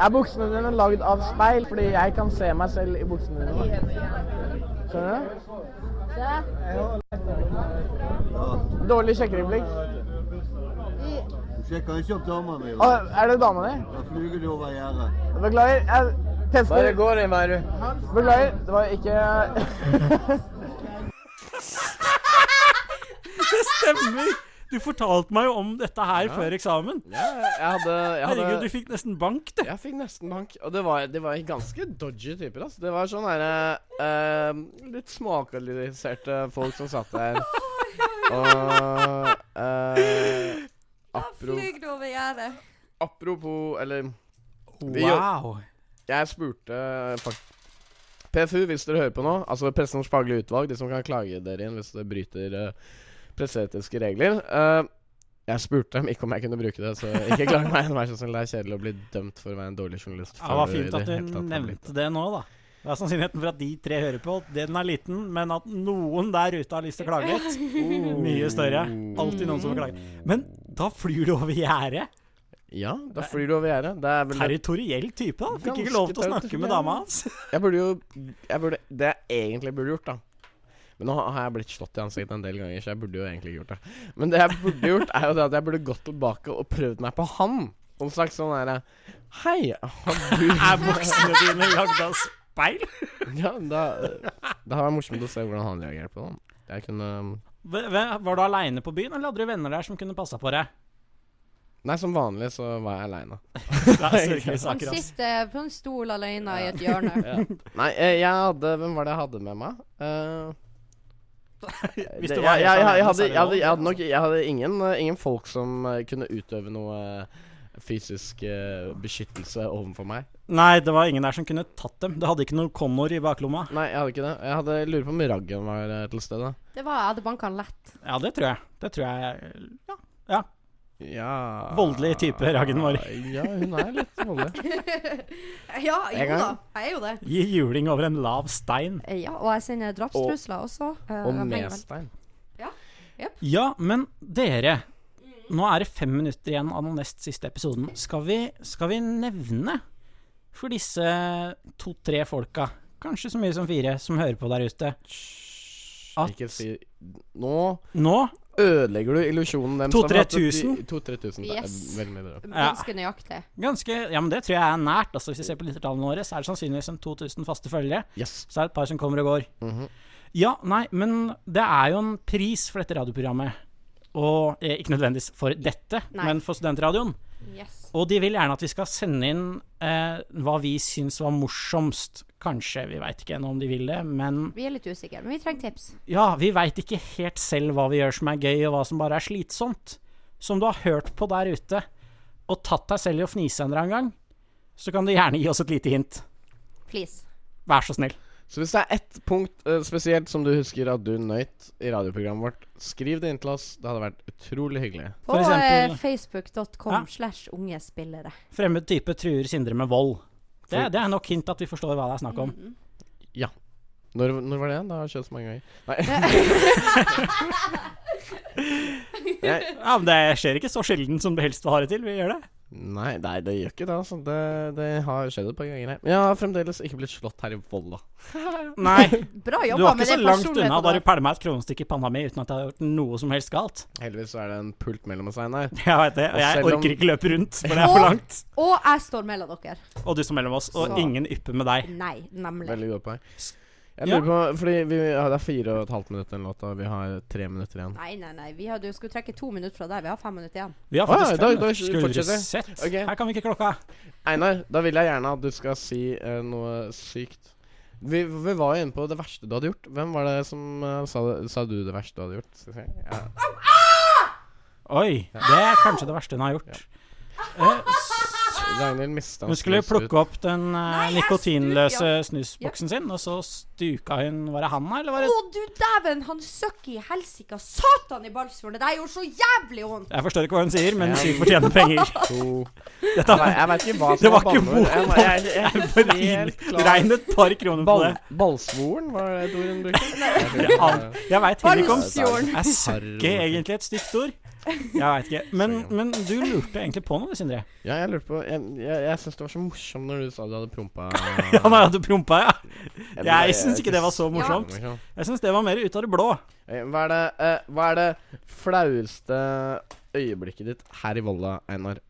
Speaker 1: Er buksene dine lagd av speil? Fordi jeg kan se meg selv i buksene dine. Skjønner du?
Speaker 10: Da,
Speaker 1: Dårlig
Speaker 10: i,
Speaker 1: sjekkereplikk.
Speaker 11: Du sjekker ikke opp dama mi.
Speaker 1: Å, Er det dama di?
Speaker 11: Da flyger du over gjerdet.
Speaker 1: Beklager, jeg tester
Speaker 11: Bare
Speaker 1: gå inn, er du. Beklager, det var ikke
Speaker 2: Det stemmer! Du fortalte meg jo om dette her
Speaker 1: Ja.
Speaker 2: før eksamen.
Speaker 1: Ja, jeg hadde, jeg hadde
Speaker 2: Herregud, du fikk nesten bank, du.
Speaker 1: Jeg fikk nesten bank. Og det var, det var ganske dodgy typer. Altså. Det var sånn derre eh, Litt småalkoholiserte folk som satt der. Og eh, apro,
Speaker 3: Flyg over gjerdet.
Speaker 1: apropos Eller vi jo-
Speaker 2: Wow.
Speaker 1: Jeg spurte fakt- PFU, hvis dere hører på nå, altså Pressens faglige utvalg, de som kan klage dere inn hvis dere bryter eh, presseetiske regler eh, Jeg spurte dem ikke om jeg kunne bruke det, så ikke klag meg. Vær så snill, det er kjedelig å bli dømt for å være en dårlig journalist.
Speaker 2: Ja, det var
Speaker 1: før i
Speaker 2: fint at
Speaker 1: det hele
Speaker 2: du
Speaker 1: tatt har blitt
Speaker 2: nevnte det nå, da. Hva er sannsynligheten for at de tre hører på? Den er liten, men at noen der ute har lyst til å klage ut? Mye større. Alltid noen som vil klage. Men da flyr du over gjerdet.
Speaker 1: Ja, da flyr du over gjerdet. Det er vel
Speaker 2: Territoriell type, da. Fikk
Speaker 1: Ganske
Speaker 2: ikke lov til å snakke
Speaker 1: territoriell.
Speaker 2: med dama hans.
Speaker 1: Jeg burde jo jeg burde, Det jeg egentlig burde gjort, da Men nå har jeg blitt slått i ansiktet en del ganger, så jeg burde jo egentlig ikke gjort det. Men det jeg burde gjort, er jo det at jeg burde gått tilbake og prøvd meg på han. Og en slags sånn derre Hei, har du
Speaker 2: Er buksene dine lagd av speil?
Speaker 1: Ja, da, det hadde vært morsomt å se hvordan han reagerer på det. Jeg kunne
Speaker 2: Hve- hve- Var du aleine på byen, eller hadde du venner der som kunne passa på deg?
Speaker 1: Nei, som vanlig så var jeg aleine.
Speaker 2: Det er sørgelige
Speaker 3: Han
Speaker 2: saker, ass.
Speaker 3: sitter på en stol alene i et hjørne.
Speaker 1: Nei, eh, jeg hadde Hvem var det jeg hadde med meg? Eh,
Speaker 2: Hvis
Speaker 1: det,
Speaker 2: det
Speaker 1: jeg,
Speaker 2: var
Speaker 1: jeg, jeg,
Speaker 2: helt
Speaker 1: jeg,
Speaker 2: alene, så
Speaker 1: hadde,
Speaker 2: er det
Speaker 1: jeg, hadde,
Speaker 2: lov.
Speaker 1: jeg hadde nok Jeg hadde ingen, eh, ingen folk som eh, kunne utøve noe eh, fysisk eh, beskyttelse overfor meg.
Speaker 2: Nei, det var ingen der som kunne tatt dem. Det hadde ikke noe Connor i baklomma.
Speaker 1: Nei, jeg hadde ikke det. Jeg hadde lurer på om Raggen var eh, til stede.
Speaker 3: Det var, jeg hadde banka han lett.
Speaker 2: Ja, det tror jeg. Det tror jeg Ja.
Speaker 1: Ja
Speaker 2: Voldelig type, Raggen vår.
Speaker 1: Ja, hun er litt voldelig.
Speaker 3: Ja,
Speaker 1: Jeg
Speaker 3: jo
Speaker 1: kan-
Speaker 3: da. Jeg er jo det.
Speaker 2: Gi juling over en lav stein.
Speaker 3: Eh, Ja, og jeg sender drapstrusler også. eh,
Speaker 1: Og
Speaker 3: avhengig av-
Speaker 1: Mestein.
Speaker 2: Ja, men dere Nå er det fem minutter igjen av den nest siste episoden. Skal vi, skal vi nevne for disse to-tre folka, kanskje så mye som fire, som hører på der ute, at
Speaker 1: Ikke si Nå
Speaker 2: nå
Speaker 1: ødelegger du illusjonen deres.
Speaker 2: 2-3 000.
Speaker 1: 2000.
Speaker 3: Yes.
Speaker 1: Eh, Veldig mye bra.
Speaker 3: Ganske nøyaktig.
Speaker 2: ganske Ja, men det tror jeg er nært. Altså, hvis vi ser på lyttertallene våre, så er det sannsynligvis en 2000 faste følgere.
Speaker 1: Yes.
Speaker 2: Så er det et par som kommer og går.
Speaker 1: Mhm.
Speaker 2: Ja, nei, men det er jo en pris for dette radioprogrammet. Og eh, ikke nødvendigvis for dette,
Speaker 3: Nei.
Speaker 2: men for studentradioen.
Speaker 3: Yes.
Speaker 2: Og de vil gjerne at vi skal sende inn eh, hva vi syns var morsomst. Kanskje, vi veit ikke ennå om de vil det, men
Speaker 3: Vi er litt usikre, men vi trenger tips.
Speaker 2: ja, vi veit ikke helt selv hva vi gjør som er gøy, og hva som bare er slitsomt. Som du har hørt på der ute, og tatt deg selv i å fnise en eller annen gang, så kan du gjerne gi oss et lite hint.
Speaker 3: Please.
Speaker 2: Vær så snill.
Speaker 1: Så hvis det er ett punkt eh, spesielt som du husker at du nøyt i radioprogrammet vårt, skriv det inn til oss. Det hadde vært utrolig hyggelig.
Speaker 3: På
Speaker 2: For eksempel-
Speaker 3: eh, facebook.com
Speaker 2: Ja.
Speaker 3: slash unge spillere.
Speaker 2: Fremmed type truer Sindre med vold. Det,
Speaker 1: For-
Speaker 2: det er nok hint at vi forstår hva det er snakk om.
Speaker 3: Mm.
Speaker 1: Når, når var det? Det har skjedd så mange ganger. Nei. Nei.
Speaker 2: Ja, men Det skjer ikke så sjelden som du helst vil ha det til. Vi gjør det.
Speaker 1: Nei, nei, det gjør ikke det. Altså. Det, det har skjedd et par ganger. her. Men jeg har fremdeles ikke blitt slått her i Volda.
Speaker 2: Nei, du
Speaker 3: Bra
Speaker 2: var
Speaker 3: jobba med
Speaker 2: ikke
Speaker 3: sånn det
Speaker 2: så langt unna
Speaker 3: personligheten
Speaker 2: da du
Speaker 3: der.
Speaker 2: pælma et kronestykke i panna mi uten at jeg har gjort noe som helst galt.
Speaker 1: Heldigvis så er det en pult mellom oss, Einar.
Speaker 2: Jeg vet det, og
Speaker 1: Og
Speaker 2: jeg
Speaker 1: selv om-
Speaker 2: orker ikke løpe rundt når det er for
Speaker 3: Å!
Speaker 2: langt.
Speaker 3: Og jeg står mellom dere.
Speaker 2: Og du står mellom oss, og
Speaker 3: Så-
Speaker 2: ingen ypper med deg.
Speaker 3: Nei, nemlig.
Speaker 1: Veldig godt poeng. Jeg lurer på, fordi vi, ja, Det er fire og et halvt minutt den låta. Vi har tre minutter igjen.
Speaker 3: Nei, nei, nei. Vi hadde jo skulle trekke to minutter fra deg. Vi har fem minutter igjen.
Speaker 2: Vi har
Speaker 1: Å ja,
Speaker 2: faktisk
Speaker 1: da-
Speaker 2: fem.
Speaker 1: da
Speaker 2: minutter. Skulle du
Speaker 1: fortsetter.
Speaker 2: sett.
Speaker 1: Ok.
Speaker 2: Her kan vi ikke klokka.
Speaker 1: Einar, da vil jeg gjerne at du skal si eh, noe sykt. Vi, vi var jo inne på det verste du hadde gjort. Hvem var det som eh, sa, det- sa du det verste du hadde gjort? Skal vi se. Ja.
Speaker 2: Oi, det er kanskje det verste hun har gjort. Eh,
Speaker 1: Ragnhild mista
Speaker 2: Hun skulle plukke opp den eh, nikotinløse snusboksen sin, og så stuka hun Var det handa, eller var det
Speaker 3: Å, du dæven! Han søkk i helsika! Satan i Balsfjorden! Det der gjorde så jævlig vondt!
Speaker 2: Jeg forstår ikke hva hun sier, men hun
Speaker 1: En,
Speaker 2: sier fortjener penger.
Speaker 1: To
Speaker 2: Dette,
Speaker 1: Nei, jeg vet ikke hva som
Speaker 2: det
Speaker 1: var
Speaker 2: var ikke
Speaker 1: banneord. Jeg-
Speaker 2: vondt.
Speaker 1: jeg- jeg-
Speaker 2: Jeg
Speaker 1: jeg-
Speaker 2: bare
Speaker 1: helt
Speaker 2: regn-
Speaker 1: klar.
Speaker 2: regn et par kroner på
Speaker 1: Ball,
Speaker 2: det.
Speaker 1: Ballsvoren, var det et ord hun brukte?
Speaker 2: Jeg an- Jeg veit heller ikke om
Speaker 3: Balsfjorden.
Speaker 2: Er søkke egentlig et stygt ord? Jeg veit ikke. Men, men du lurte egentlig på noe, Sindre.
Speaker 1: Ja, jeg lurte på Jeg, jeg, jeg syns det var så morsomt når du sa du hadde prompa
Speaker 2: Ja, nei, du prompa, ja.
Speaker 1: Jeg ble-
Speaker 2: Jeg syns ikke det var så
Speaker 1: Ja.
Speaker 2: morsomt. Jeg syns det var mer ut av det blå.
Speaker 1: Eh, Hva er det, eh, hva er det flaueste øyeblikket ditt her i Volda, Einar?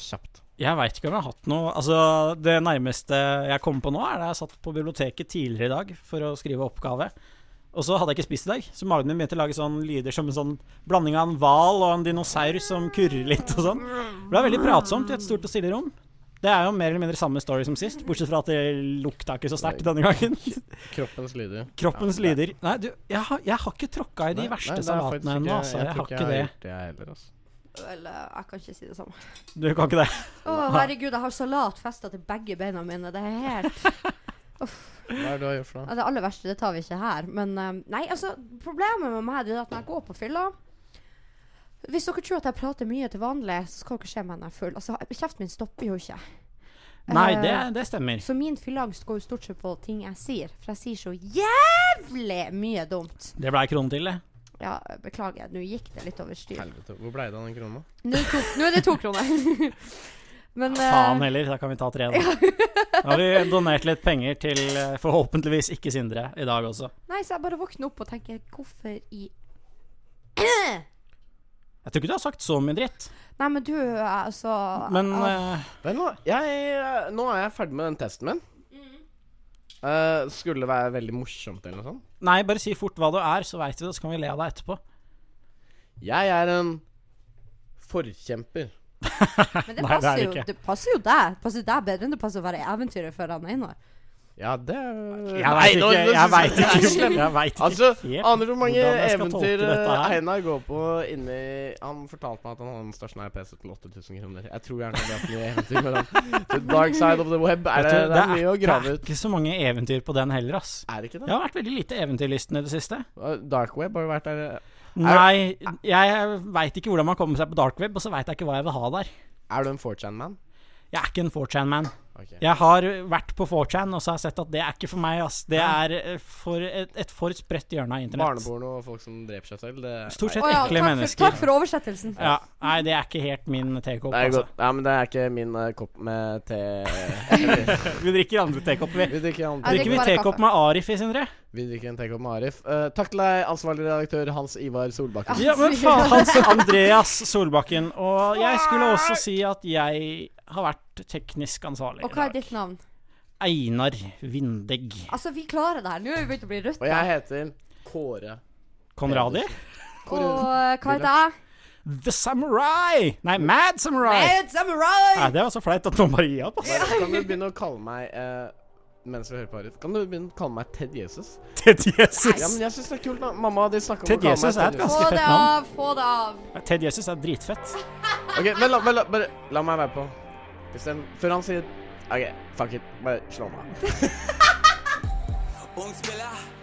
Speaker 1: Kjapt.
Speaker 2: Jeg veit ikke om jeg har hatt noe Altså, det nærmeste jeg kommer på nå, er da jeg satt på biblioteket tidligere i dag for å skrive oppgave. Og så hadde jeg ikke spist i dag, så magen min begynte å lage sånn lyder som en sånn blanding av en hval og en dinosaur som kurrer litt og sånn. Det ble veldig pratsomt i et stort og stille rom. Det er jo mer eller mindre samme story som sist, bortsett fra at det lukta ikke så sterkt denne gangen.
Speaker 1: Kroppens lyder.
Speaker 2: Kroppens lyder Nei, du, jeg har, jeg har ikke tråkka i
Speaker 1: Nei,
Speaker 2: de
Speaker 1: nei,
Speaker 2: verste
Speaker 1: det er faktisk
Speaker 2: salatene ennå,
Speaker 1: ikke-
Speaker 2: altså. Jeg
Speaker 1: tror
Speaker 2: har ikke det.
Speaker 1: gjort det, jeg heller, altså.
Speaker 3: Vel, eh, jeg kan ikke si det samme.
Speaker 2: Du kan ikke det?
Speaker 3: Å, herregud, jeg har salat festa til begge beina mine. Det er helt
Speaker 1: Hva er det du har gjort for
Speaker 3: Ja,
Speaker 1: noe?
Speaker 3: Det aller verste, det tar vi ikke her. Men eh, nei, altså, problemet med meg det er at når jeg går på fylla Hvis dere tror at jeg prater mye til vanlig, så skal dere se meg når jeg er full. Altså, kjeften min stopper jo ikke.
Speaker 2: Nei,
Speaker 3: Eh,
Speaker 2: det, det stemmer.
Speaker 3: Så min fylleangst går jo stort sett på ting jeg sier, for jeg sier så jævlig mye dumt.
Speaker 2: Det blei kronen til, det.
Speaker 3: Ja, beklager, nå gikk det litt over styr.
Speaker 1: Helvete. Hvor ble det av den krona?
Speaker 3: Nå er det to, nå er det to kroner. Men
Speaker 2: Faen
Speaker 3: eh,
Speaker 2: heller, da kan vi ta tre, da. Da har vi donert litt penger til eh, forhåpentligvis ikke Sindre i dag også.
Speaker 3: Nei, så jeg bare våkner opp og tenker Hvorfor i
Speaker 2: Jeg tror ikke du har sagt så mye dritt,
Speaker 3: Nei, men du, altså
Speaker 2: men
Speaker 3: jeg-
Speaker 2: eh,
Speaker 1: Vel, nå, jeg, eh, nå er jeg ferdig med den testen min. Eh, skulle det være veldig morsomt eller noe sånt?
Speaker 2: Nei, bare si fort hva du er, så veit vi det, så kan vi le av deg etterpå.
Speaker 1: Jeg er en forkjemper.
Speaker 3: Men
Speaker 2: Nei, det
Speaker 3: det
Speaker 2: er
Speaker 3: passer,
Speaker 2: det
Speaker 3: jo,
Speaker 2: ikke.
Speaker 3: det passer jo deg. Det passer deg bedre enn det passer å være eventyrer for han Einar.
Speaker 1: Ja, det er-
Speaker 2: Jeg
Speaker 1: Nei,
Speaker 2: veit
Speaker 1: nå-
Speaker 2: ikke,
Speaker 1: nå
Speaker 2: jeg
Speaker 1: synes
Speaker 2: vet
Speaker 1: det er
Speaker 2: ikke,
Speaker 1: slemt.
Speaker 2: jeg vet ikke
Speaker 1: Altså,
Speaker 2: helt
Speaker 1: aner du hvor mange
Speaker 2: hvordan jeg skal tolke
Speaker 1: eventyr
Speaker 2: dette
Speaker 1: eh,
Speaker 2: her.
Speaker 1: Einar går på inni Han fortalte meg at han hadde en stasjonær PC til 8000 kroner. Jeg tror gjerne det er mye eventyr med den. The dark side of the web. Er det,
Speaker 2: Vet du,
Speaker 1: det er mye å
Speaker 2: ikke-
Speaker 1: grave
Speaker 2: Det
Speaker 1: ut.
Speaker 2: er ikke så mange eventyr på den heller, ass.
Speaker 1: Er det ikke
Speaker 2: Det
Speaker 1: det?
Speaker 2: har vært veldig lite eventyrlysten i det siste.
Speaker 1: Uh, Dark web har jo vært der.
Speaker 2: Nei, jeg veit ikke hvordan man kommer seg på dark web, og så veit jeg ikke hva jeg vil ha der.
Speaker 1: Er du en 4chan-man?
Speaker 2: Jeg er ikke en 4chan-man.
Speaker 1: Ok.
Speaker 2: Jeg har vært på 4chan, og så har jeg sett at det er ikke for meg, ass. Det er eh, for et, et for spredt hjørne av internett.
Speaker 1: Barneporno og folk som dreper seg selv, det
Speaker 2: Stort
Speaker 1: Nei,
Speaker 2: sett
Speaker 3: Å ja,
Speaker 2: ekle
Speaker 3: takk, for,
Speaker 2: mennesker.
Speaker 3: takk for oversettelsen.
Speaker 2: Ja, nei, det er ikke helt min tekopp.
Speaker 1: det er
Speaker 2: Altså.
Speaker 1: godt. Ja, men det er ikke min eh, kopp med te
Speaker 2: Vi drikker andre tekopper, vi.
Speaker 1: Vi drikker, en
Speaker 3: Jeg
Speaker 2: Drikker
Speaker 1: annen
Speaker 2: vi
Speaker 3: bare
Speaker 2: tekopp
Speaker 3: kaffe.
Speaker 2: med Arif i, Sindre?
Speaker 1: Vi drikker en tekopp med Arif. Eh, takk til deg, ansvarlig redaktør Hans Ivar Solbakken.
Speaker 2: Ja, men faen, Hans Andreas Solbakken. Og jeg skulle også si at jeg har vært teknisk ansvarlig.
Speaker 3: Og hva er ditt navn?
Speaker 2: Einar Vindegg.
Speaker 3: Altså, vi klarer det her. Nå er vi begynt å bli rødt.
Speaker 1: Og jeg heter Kåre.
Speaker 2: Konradi?
Speaker 3: Og eh, hva heter jeg?
Speaker 2: The Samurai! Nei, Mad Samurai!
Speaker 3: Mad
Speaker 2: Nei,
Speaker 3: Samurai!
Speaker 2: det var så flaut at noen bare gir opp, ass.
Speaker 1: Bare, kan du begynne å kalle meg eh, Mens vi hører på Arif, kan du begynne å kalle meg Ted Jesus?
Speaker 2: Ted
Speaker 1: Ja, men
Speaker 2: Jesus.
Speaker 1: jeg syns det er kult. da Mamma de snakka om
Speaker 2: Ted
Speaker 1: å kalle
Speaker 2: Jesus
Speaker 1: meg
Speaker 2: er et
Speaker 1: Ted Jesus.
Speaker 2: ganske-
Speaker 3: Få det
Speaker 2: fett navn.
Speaker 3: av, få det av.
Speaker 2: Ted Jesus er dritfett.
Speaker 1: Ok, men la, men la, bare, la meg være på. Isteden, før han sier OK, fuck it. Bare slå meg.
Speaker 12: Ung spiller,